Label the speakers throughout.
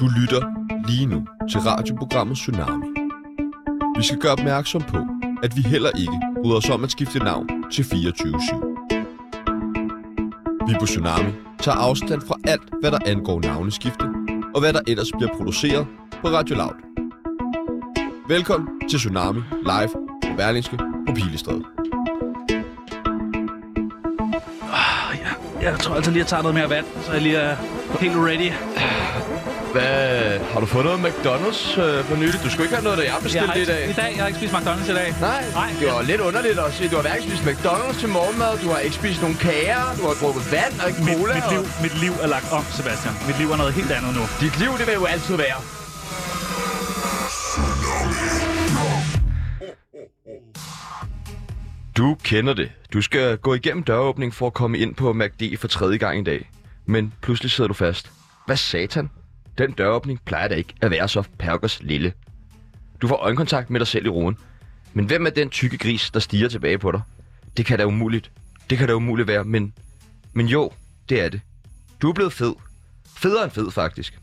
Speaker 1: Du lytter lige nu til radioprogrammet Tsunami. Vi skal gøre opmærksom på, at vi heller ikke bryder os om at skifte navn til 24-7. Vi på Tsunami tager afstand fra alt, hvad der angår navneskifte, og hvad der ellers bliver produceret på Radio Loud. Velkommen til Tsunami Live på Berlingske på Pilestræde.
Speaker 2: Jeg tror altså lige, jeg tager noget mere vand, så jeg lige er helt ready.
Speaker 3: Hvad, har du fået noget McDonald's øh, for nylig? Du skulle ikke have noget, da jeg
Speaker 2: Jeg
Speaker 3: bestilte
Speaker 2: har
Speaker 3: det i
Speaker 2: ikke,
Speaker 3: dag.
Speaker 2: I dag, jeg har ikke spist McDonald's i dag.
Speaker 3: Nej,
Speaker 2: Nej.
Speaker 3: Nej, det var lidt underligt at se. Du har hverken spist McDonald's til morgenmad, du har ikke spist nogen kager, du har drukket vand og ikke
Speaker 4: Mit,
Speaker 3: cola.
Speaker 4: mit, liv, mit liv er lagt om, Sebastian. Mit liv er noget helt andet nu.
Speaker 3: Og... Dit liv, det vil jo altid være. Du kender det. Du skal gå igennem døråbningen for at komme ind på MACD for tredje gang i dag. Men pludselig sidder du fast. Hvad satan? Den døråbning plejer da ikke at være så perkers lille. Du får øjenkontakt med dig selv i roen. Men hvem er den tykke gris, der stiger tilbage på dig? Det kan da umuligt. Det kan da umuligt være, men... Men jo, det er det. Du er blevet fed. Federe end fed, faktisk.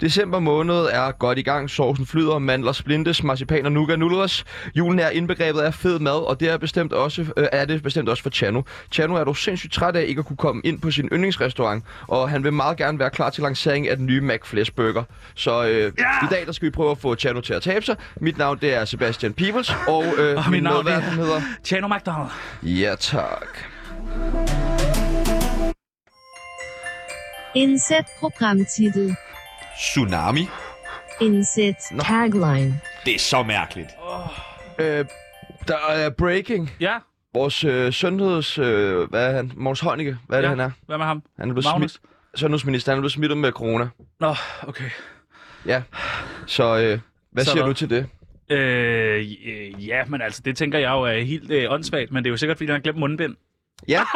Speaker 3: December måned er godt i gang. Sovsen flyder, mandler splintes, marcipan og nougat nulres. Julen er indbegrebet af fed mad, og det er, bestemt også, øh, er det bestemt også for Chano. Chano er dog sindssygt træt af ikke at kunne komme ind på sin yndlingsrestaurant, og han vil meget gerne være klar til lanceringen af den nye McFlesh Burger. Så øh, i dag der skal vi prøve at få Chano til at tabe sig. Mit navn det er Sebastian Peebles, og, øh,
Speaker 2: mit navn, det er-
Speaker 3: medvært, han hedder...
Speaker 2: Tjano McDonald.
Speaker 3: Ja tak.
Speaker 5: Inset Programmtitel.
Speaker 1: Tsunami.
Speaker 5: Inset Tagline.
Speaker 6: Det er så mærkeligt.
Speaker 3: Øh, der er breaking.
Speaker 2: Ja,
Speaker 3: Vores øh, sundheds... Øh, hvad er han? Mogens Heunicke. Hvad er det,
Speaker 2: Ja.
Speaker 3: han er?
Speaker 2: hvad med ham?
Speaker 3: Han er blevet
Speaker 2: Magnus?
Speaker 3: smidt. Sundhedsminister, han er blevet smittet med corona.
Speaker 2: Nå, okay.
Speaker 3: Ja. Så øh, hvad
Speaker 2: Så
Speaker 3: så siger
Speaker 2: hvad?
Speaker 3: du til det?
Speaker 2: Øh, øh, ja, men altså, det tænker jeg jo er helt øh, åndssvagt, men det er jo sikkert, fordi han har glemt mundbind.
Speaker 3: Ja,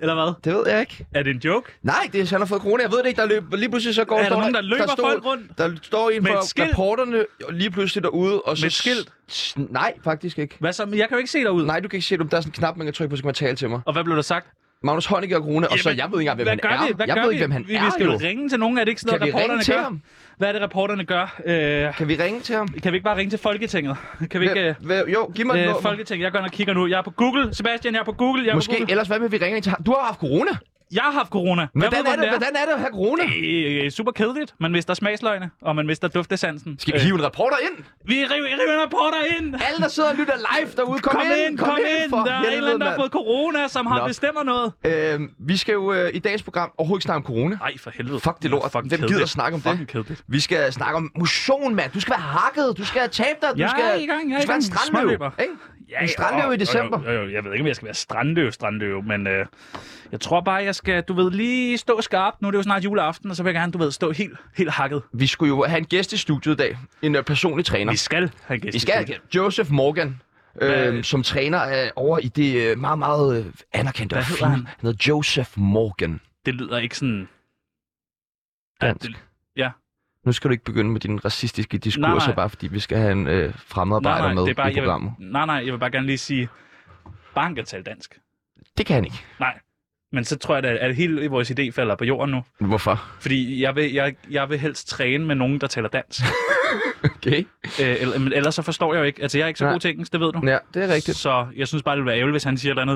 Speaker 2: Eller hvad?
Speaker 3: det ved jeg ikke.
Speaker 2: Er det en joke?
Speaker 3: Nej, det er, han har fået corona. Jeg ved det ikke. Der løb, lige pludselig så går
Speaker 2: Er der
Speaker 3: står
Speaker 2: nogen, der løber
Speaker 3: står,
Speaker 2: folk rundt?
Speaker 3: Der står en
Speaker 2: Med et
Speaker 3: for
Speaker 2: skilt?
Speaker 3: rapporterne lige pludselig derude. Og så
Speaker 2: Med et skilt?
Speaker 3: s- Nej, faktisk ikke.
Speaker 2: Hvad så? Men Jeg kan jo ikke se derude.
Speaker 3: Nej, du kan ikke se det. Der er sådan en knap, man kan trykke på, så kan man tale til mig.
Speaker 2: Og hvad blev der sagt?
Speaker 3: Magnus Heunicke og corona, og så
Speaker 2: Jamen,
Speaker 3: jeg ved ikke engang, hvem
Speaker 2: Hvad
Speaker 3: han
Speaker 2: gør
Speaker 3: er.
Speaker 2: vi? Hvad
Speaker 3: jeg
Speaker 2: gør
Speaker 3: ved
Speaker 2: vi?
Speaker 3: ikke, hvem han
Speaker 2: vi,
Speaker 3: er
Speaker 2: Vi skal jo
Speaker 3: jo.
Speaker 2: ringe til nogen. Er det ikke sådan
Speaker 3: Kan vi
Speaker 2: noget, reporterne
Speaker 3: ringe til
Speaker 2: gør?
Speaker 3: ham?
Speaker 2: Hvad er det, reporterne gør? Øh,
Speaker 3: Kan vi ringe til ham?
Speaker 2: kan vi ikke bare ringe til Folketinget? Kan vi ikke... øh,
Speaker 3: Hvem- hvem- Jo, giv mig et
Speaker 2: Øh,
Speaker 3: nummer.
Speaker 2: Folketinget, jeg går ind og kigger nu. Jeg er på Google. Sebastian, jeg er på Google. Jeg er på
Speaker 3: Måske,
Speaker 2: Google.
Speaker 3: ellers hvad med, vi ringer ind til ham? Du har haft corona.
Speaker 2: Jeg har haft corona. Jeg
Speaker 3: Hvordan
Speaker 2: ved,
Speaker 3: er det,
Speaker 2: hvordan
Speaker 3: hvordan er det at have corona?
Speaker 2: Øh, super kedeligt. Man mister smagsløgene, og man mister duftesansen. Øh,
Speaker 3: Skal vi hive en reporter ind?
Speaker 2: Vi river, river en reporter ind!
Speaker 3: Alle, der sidder og lytter live derude, kom,
Speaker 2: Kom, ind, kom, ind!
Speaker 3: for
Speaker 2: Der er en eller anden, der har fået corona, som har
Speaker 3: Nå.
Speaker 2: bestemmer noget.
Speaker 3: fået... Øh, vi skal jo øh, i dagens program overhovedet ikke snakke om corona.
Speaker 2: Nej, for helvede.
Speaker 3: Fuck det lort. Hvem gider at snakke om det?
Speaker 2: Fucking kedeligt.
Speaker 3: Vi skal snakke om motion, mand. Du skal være hakket, du skal tabe dig, du
Speaker 2: Jeg er
Speaker 3: skal,
Speaker 2: i gang, jeg er
Speaker 3: du
Speaker 2: i
Speaker 3: skal være en
Speaker 2: gang.
Speaker 3: strandløb.
Speaker 2: Småløber.
Speaker 3: Ikke? En strandløv i
Speaker 2: og-
Speaker 3: december.
Speaker 2: Jo, jo, jo, jeg ved ikke, om jeg skal være strandløv, strandløv, men øh, jeg tror bare, jeg skal, du ved, lige stå skarpt. Nu er det jo snart juleaften, og så vil jeg gerne, du ved, stå helt, helt hakket.
Speaker 3: Vi skulle jo have en gæst i studiet i dag. En øh, personlig træner.
Speaker 2: Vi skal have en gæst.
Speaker 3: Vi
Speaker 2: i
Speaker 3: skal
Speaker 2: studiet.
Speaker 3: Joseph Morgan.
Speaker 2: Hvad-
Speaker 3: Øh, som træner øh, over i det øh, meget, meget øh, anerkendte
Speaker 2: Hvad
Speaker 3: og
Speaker 2: hedder
Speaker 3: fine.
Speaker 2: han?
Speaker 3: Han hedder Joseph Morgan.
Speaker 2: Det lyder ikke sådan...
Speaker 3: Dansk.
Speaker 2: det- ja.
Speaker 3: Nu skal du ikke begynde med dine racistiske diskurser,
Speaker 2: Nej, nej.
Speaker 3: bare fordi vi skal have en øh,
Speaker 2: Nej,
Speaker 3: fremmedarbejder
Speaker 2: nej,
Speaker 3: med
Speaker 2: det er bare,
Speaker 3: i programmet.
Speaker 2: Jeg vil, nej, nej, jeg vil bare gerne lige sige, bare han kan tale dansk.
Speaker 3: Det kan han ikke.
Speaker 2: Nej. Men så tror jeg, da, at hele vores idé falder på jorden nu.
Speaker 3: Hvorfor?
Speaker 2: Fordi jeg vil, jeg, jeg vil helst træne med nogen, der taler dansk.
Speaker 3: Okay.
Speaker 2: øh, eller, men ellers så forstår jeg jo ikke. Altså, jeg er ikke så
Speaker 3: Nej.
Speaker 2: god til engelsk, det ved du.
Speaker 3: Ja, det er rigtigt.
Speaker 2: Så jeg synes bare, det ville være ærgerligt, hvis han siger et eller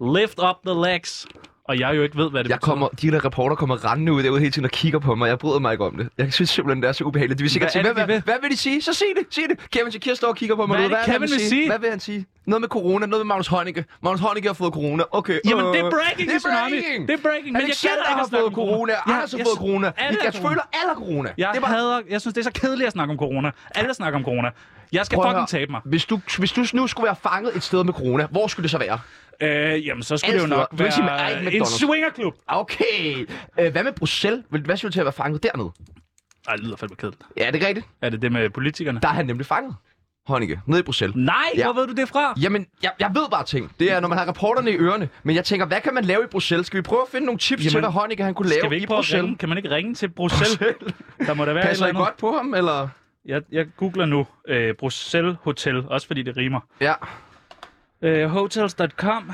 Speaker 2: andet. Lift up the legs. Og jeg jo ikke ved, hvad det
Speaker 3: Jeg kommer, de der reporter kommer rendende ud derude hele tiden og kigger på mig. Jeg bryder mig ikke om det. Jeg synes simpelthen, det er så ubehageligt. De vil sikkert
Speaker 2: Hvad er
Speaker 3: sige, hvad,
Speaker 2: det, de
Speaker 3: hvad,
Speaker 2: vil?
Speaker 3: hvad, vil de sige? Så sig det, sig det. Kevin Shakir står og kigger på mig.
Speaker 2: Hvad er
Speaker 3: derude.
Speaker 2: det,
Speaker 3: hvad
Speaker 2: Kevin
Speaker 3: han
Speaker 2: vil sige?
Speaker 3: Hvad vil han sige? Noget med corona, noget med Magnus Heunicke. Magnus Heunicke har fået corona. Okay.
Speaker 2: Jamen, det er
Speaker 3: øh,
Speaker 2: breaking,
Speaker 3: det er
Speaker 2: Tsunami.
Speaker 3: breaking.
Speaker 2: Det er breaking, men jeg
Speaker 3: Alexander
Speaker 2: gælder ikke
Speaker 3: har
Speaker 2: at snakke
Speaker 3: fået
Speaker 2: om
Speaker 3: corona.
Speaker 2: corona. Ja,
Speaker 3: Anders har
Speaker 2: jeg-
Speaker 3: fået corona.
Speaker 2: alle
Speaker 3: Vi-
Speaker 2: er
Speaker 3: Jeg
Speaker 2: corona.
Speaker 3: føler, alle har corona.
Speaker 2: Jeg,
Speaker 3: Det er bare-
Speaker 2: hader, jeg synes, det er så kedeligt at snakke om corona. Alle snakker om corona. Jeg skal
Speaker 3: Prøv at
Speaker 2: fucking
Speaker 3: høre.
Speaker 2: tabe mig.
Speaker 3: Hvis du, hvis du nu skulle være fanget et sted med corona, hvor skulle det så være?
Speaker 2: Øh, jamen, så skulle
Speaker 3: Alle
Speaker 2: det jo
Speaker 3: steder.
Speaker 2: nok
Speaker 3: Du vil ikke sige, men
Speaker 2: være
Speaker 3: ej, ikke
Speaker 2: en
Speaker 3: McDonald's.
Speaker 2: swingerklub.
Speaker 3: Okay. Øh, hvad med Bruxelles? Vil- Hvad skulle du til at være fanget dernede?
Speaker 2: Ej, det lyder fandme kedeligt.
Speaker 3: Ja, det er rigtigt.
Speaker 2: Er det det med politikerne?
Speaker 3: Der er han nemlig fanget. Heunicke, nede i Bruxelles.
Speaker 2: Nej,
Speaker 3: Ja.
Speaker 2: hvor ved du det fra?
Speaker 3: Jamen, jeg, jeg ved bare ting. Det er, når man har reporterne i ørerne. Men jeg tænker, hvad kan man lave i Bruxelles? Skal vi prøve at finde nogle tips Jamen, til,
Speaker 2: Jamen,
Speaker 3: hvad Heunicke han kunne lave
Speaker 2: Skal vi ikke
Speaker 3: i
Speaker 2: prøve at
Speaker 3: Bruxelles?
Speaker 2: ringe? Kan man ikke ringe til Bruxelles? Der må der være
Speaker 3: Passer
Speaker 2: et
Speaker 3: I
Speaker 2: eller andet.
Speaker 3: godt på ham, eller?
Speaker 2: Jeg, jeg googler nu øh, Bruxelles Hotel, også fordi det rimer.
Speaker 3: Ja.
Speaker 2: Øh, hotels.com.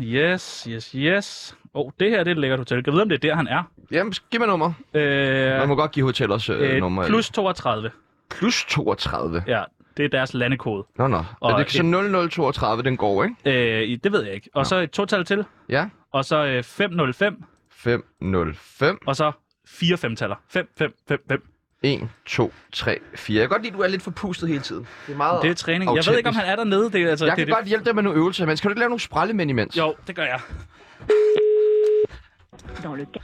Speaker 2: Yes, yes, yes. Åh, oh, det her det er et lækkert hotel. Jeg ved, om det er der, han er.
Speaker 3: Jamen, giv mig nummer. Ja. Man
Speaker 2: Øh,
Speaker 3: må godt give hotel også øh,
Speaker 2: øh,
Speaker 3: nummer.
Speaker 2: plus 32.
Speaker 3: plus 32.
Speaker 2: Ja, det er deres landekode.
Speaker 3: Nå, nå. Og
Speaker 2: Og
Speaker 3: det er så 0032, den går, ikke?
Speaker 2: Øh, i- det ved jeg ikke. Og så et total til.
Speaker 3: Ja.
Speaker 2: Og så øh, 505.
Speaker 3: 505.
Speaker 2: Og så fire femtaller. 5, 5, 5, 5.
Speaker 3: 1, 2, 3, 4. Jeg kan godt lide, at du er lidt forpustet hele tiden. Det er meget
Speaker 2: Det er træning. Jeg ved ikke, om han er dernede. Det, er- altså,
Speaker 3: Jeg
Speaker 2: det,
Speaker 3: kan
Speaker 2: er det.
Speaker 3: godt hjælpe dig med nogle øvelser, men skal du ikke lave nogle sprællemænd imens?
Speaker 2: Jo, det gør jeg.
Speaker 6: dans le cas.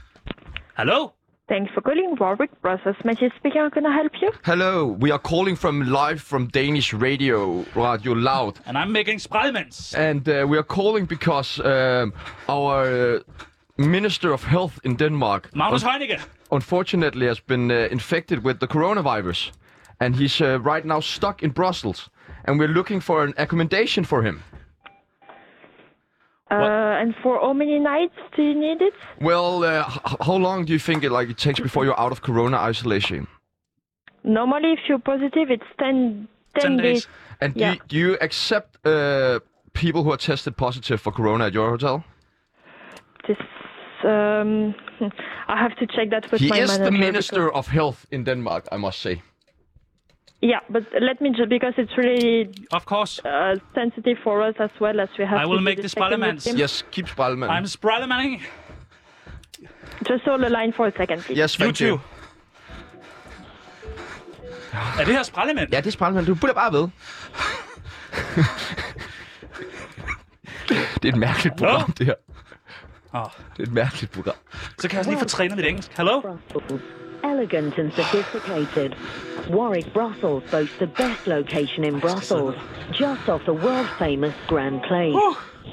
Speaker 2: Hallo?
Speaker 6: Thanks for calling Warwick Brothers Magic speaking. How can I help you?
Speaker 3: Hello, we are calling from live from Danish radio, Radio Loud.
Speaker 2: And I'm making sprejmens.
Speaker 3: And uh, we are calling because um, our uh, Minister of Health in Denmark
Speaker 2: Magnus Heunicke.
Speaker 3: unfortunately has been uh, infected with the coronavirus and he's uh, right now stuck in Brussels and we're looking for an accommodation for him.
Speaker 2: What?
Speaker 6: Uh, and for how many nights do you need it?
Speaker 3: Well, uh, h- how long do you think it like it takes before you're out of corona isolation?
Speaker 6: Normally, if you're positive, it's 10,
Speaker 2: 10 days.
Speaker 3: And do,
Speaker 6: Yeah.
Speaker 3: you, do you accept uh, people who are tested positive for corona at your hotel?
Speaker 6: This, um, I have to check that with
Speaker 3: He
Speaker 6: my
Speaker 3: is
Speaker 6: manager.
Speaker 3: the
Speaker 6: because-
Speaker 3: minister of health in Denmark, I must say.
Speaker 6: yeah, but let me just because it's really
Speaker 2: Of course.
Speaker 6: uh, sensitive for us as well as we have.
Speaker 2: I
Speaker 6: to
Speaker 2: will
Speaker 6: do
Speaker 2: make
Speaker 6: the
Speaker 2: this
Speaker 6: checking with
Speaker 2: parliaments.
Speaker 6: him.
Speaker 3: Yes, keep Spalman.
Speaker 2: I'm sprejlemanning.
Speaker 6: Just hold the line for a second, please.
Speaker 3: yes, thank you.
Speaker 2: YouTube. Er det her sprejlemænd?
Speaker 3: Ja, det er Spalman. Du bliver bare ved. det er et mærkeligt program, det her.
Speaker 2: Åh,
Speaker 3: Det er et mærkeligt program.
Speaker 2: så kan jeg også lige få trænet mit engelsk. Hallo?
Speaker 7: Brussels. Elegant and sophisticated. Warwick Brussels boasts the best location in Brussels, just off the world famous Grand Place.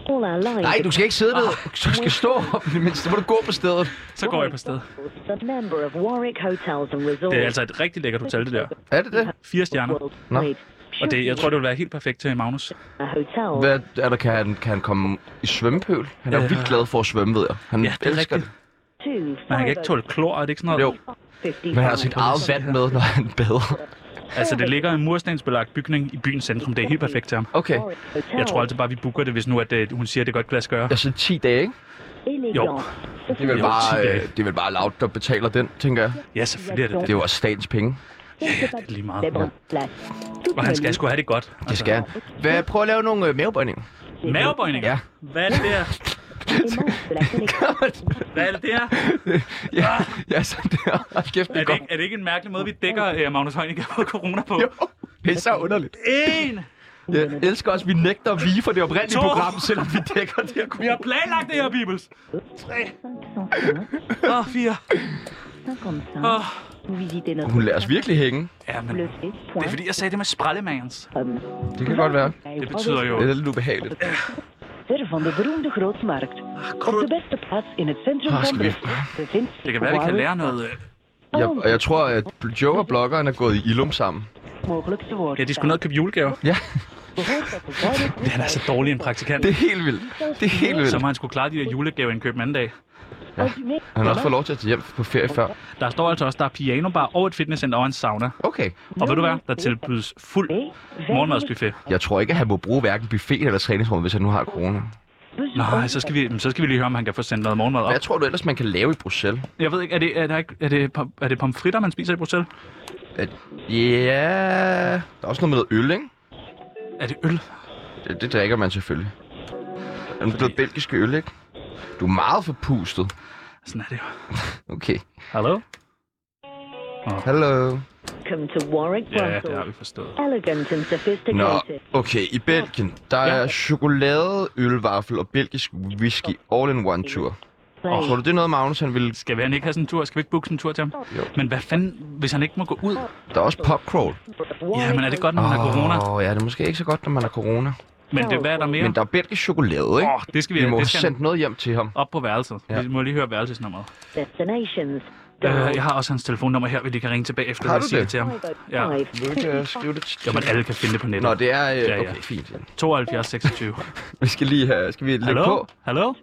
Speaker 7: All our lives.
Speaker 3: Nej, du skal ikke sidde ned.
Speaker 2: Ah,
Speaker 3: Du skal stå op, men så må du gå på stedet.
Speaker 2: Så går jeg på stedet.
Speaker 7: A member of Warwick Hotels and Resorts.
Speaker 2: Det er altså et rigtig lækkert hotel, det der.
Speaker 3: Er det det?
Speaker 2: Fire stjerner.
Speaker 7: Worldwide.
Speaker 2: Og det, jeg tror, det vil være helt perfekt til Magnus.
Speaker 7: A hotel.
Speaker 3: Hvad er der? Kan han, kan han komme i svømmepøl? Han er jo
Speaker 2: Øh.
Speaker 3: vildt glad for at svømme, ved jeg. Han
Speaker 2: Ja, det er
Speaker 3: elsker
Speaker 2: rigtigt.
Speaker 7: Two,
Speaker 2: Men han kan ikke tåle klor, er det ikke sådan noget?
Speaker 3: Jo, men han har sit eget vand med, når han bader.
Speaker 2: Altså, det ligger i en murstensbelagt bygning i byens centrum. Det er helt perfekt til ham.
Speaker 3: Okay,
Speaker 2: Jeg tror altid bare, vi booker det, hvis nu at, øh, hun siger, at det godt kan lade sig gøre.
Speaker 3: jeg siger 10 dage, ikke? Det er vel
Speaker 2: Jo, 10
Speaker 3: bare,
Speaker 2: dage.
Speaker 3: øh, det er vel bare Loud, der betaler den, tænker jeg.
Speaker 2: Ja, selvfølgelig er det
Speaker 3: Det
Speaker 2: det.
Speaker 3: er jo også statens penge.
Speaker 2: det er lige meget. Og han skal sgu have det godt. Altså,
Speaker 3: Det skal han. Hvad, prøv at lave nogle øh, mavebøjninger.
Speaker 2: Mavebøjninger?
Speaker 3: Ja.
Speaker 2: Hvad er det der? Hvad er det der?
Speaker 3: ja, ja, så det er hold kæft, det er
Speaker 2: Er det
Speaker 3: godt.
Speaker 2: ikke, er det ikke en mærkelig måde, vi dækker øh, Magnus Heunicke på corona på?
Speaker 3: Jo, det er så underligt.
Speaker 2: En!
Speaker 3: Jeg elsker også, at vi nægter at vige for det oprindelige
Speaker 2: To.
Speaker 3: program, selvom vi dækker det her
Speaker 2: Vi har planlagt det her, Bibels! Åh, oh, fire. Åh. Oh.
Speaker 3: Hun lader os virkelig hænge.
Speaker 2: Ja, men det er fordi, jeg sagde det med sprallemangens.
Speaker 3: Det kan godt være.
Speaker 2: Det betyder jo...
Speaker 3: Det er lidt ubehageligt.
Speaker 7: Ver van de beroemde grootmarkt.
Speaker 2: Ah,
Speaker 7: Op de beste plaats in het centrum
Speaker 3: Ah,
Speaker 7: van
Speaker 3: skal vi-
Speaker 7: Brussel bevindt zich
Speaker 2: Det kan være, vi kan
Speaker 7: Warwick
Speaker 2: lære noget... øh.
Speaker 3: Jeg, og jeg tror, at Joe og bloggeren er gået i Ilum sammen.
Speaker 7: mogelijk te
Speaker 2: Ja,
Speaker 7: worden.
Speaker 2: de skulle ned og købe julegaver.
Speaker 3: Ja,
Speaker 7: Behoort dat de Warwick
Speaker 2: Han er så dårlig en praktikant.
Speaker 3: det er helt vildt. Det er helt
Speaker 2: Så
Speaker 3: vildt.
Speaker 2: må han skulle klare de der julegaveindkøb en anden dag.
Speaker 3: Han har også fået lov til at tage hjem på ferie før.
Speaker 2: Der står altså også, der er pianobar og et fitnesscenter og en sauna.
Speaker 3: Okay.
Speaker 2: Og ved du hvad? Der tilbydes fuld morgenmadsbuffet.
Speaker 3: Jeg tror ikke, at han må bruge hverken buffeten eller træningsrummet, hvis han nu har corona.
Speaker 2: Nej, så skal, vi, men så skal vi lige høre, om han kan få sendt noget morgenmad op.
Speaker 3: Hvad tror du ellers, man kan lave i Bruxelles?
Speaker 2: Jeg ved ikke, er det, er, der ikke, er det, pom- er det pomfritter, man spiser i Bruxelles?
Speaker 3: At, ja... Der er også noget med noget øl, ikke?
Speaker 2: Er det øl?
Speaker 3: Det, det drikker man selvfølgelig. Er du blevet belgisk øl, ikke? Du er meget forpustet.
Speaker 2: Sådan er det jo.
Speaker 3: Okay.
Speaker 2: Hallo?
Speaker 3: Hallo.
Speaker 7: Welcome to Warwick
Speaker 2: Ja, det har
Speaker 7: Brussels.
Speaker 2: vi forstået.
Speaker 7: Elegant and
Speaker 3: Nå,
Speaker 7: sophisticated.
Speaker 3: okay. I Belgien, der er chokolade, ølvaffel og belgisk whisky all in one tur.
Speaker 7: Place.
Speaker 3: Tror du, det er noget, Magnus han ville...
Speaker 2: Skal vi- han ikke have sådan en tur? Skal vi ikke booke sådan en tur til ham?
Speaker 3: Jo.
Speaker 2: Men hvad fanden, hvis han ikke må gå ud?
Speaker 3: Der er også popcrawl.
Speaker 2: Ja, men er det godt, når man har corona?
Speaker 3: Åh, ja, det er måske ikke så godt, når man har corona.
Speaker 2: Men det, hvad er der mere?
Speaker 3: Men der er belgisk chokolade, ikke?
Speaker 2: Åh, det skal vi,
Speaker 3: Vi må
Speaker 2: det
Speaker 3: have
Speaker 2: skal han
Speaker 3: sendt noget hjem til ham.
Speaker 2: op på værelset.
Speaker 3: Ja.
Speaker 2: Vi må lige høre værelsesnummeret.
Speaker 7: Destinations.
Speaker 2: Øh, jeg har også hans telefonnummer her, vi lige kan ringe tilbage efter,
Speaker 3: Har
Speaker 2: når jeg
Speaker 3: du
Speaker 2: siger
Speaker 3: det?
Speaker 2: det til ham. Ja.
Speaker 3: Vil du ikke øh, skrive det til...
Speaker 2: Jo, men alle kan finde det på nettet.
Speaker 3: Nå, det er...
Speaker 2: Ja,
Speaker 3: Øh,
Speaker 2: ja.
Speaker 3: okay, fint.
Speaker 2: 72 26.
Speaker 3: Vi skal lige have... Skal vi lægge
Speaker 2: Hallo?
Speaker 3: på?
Speaker 2: Hallo?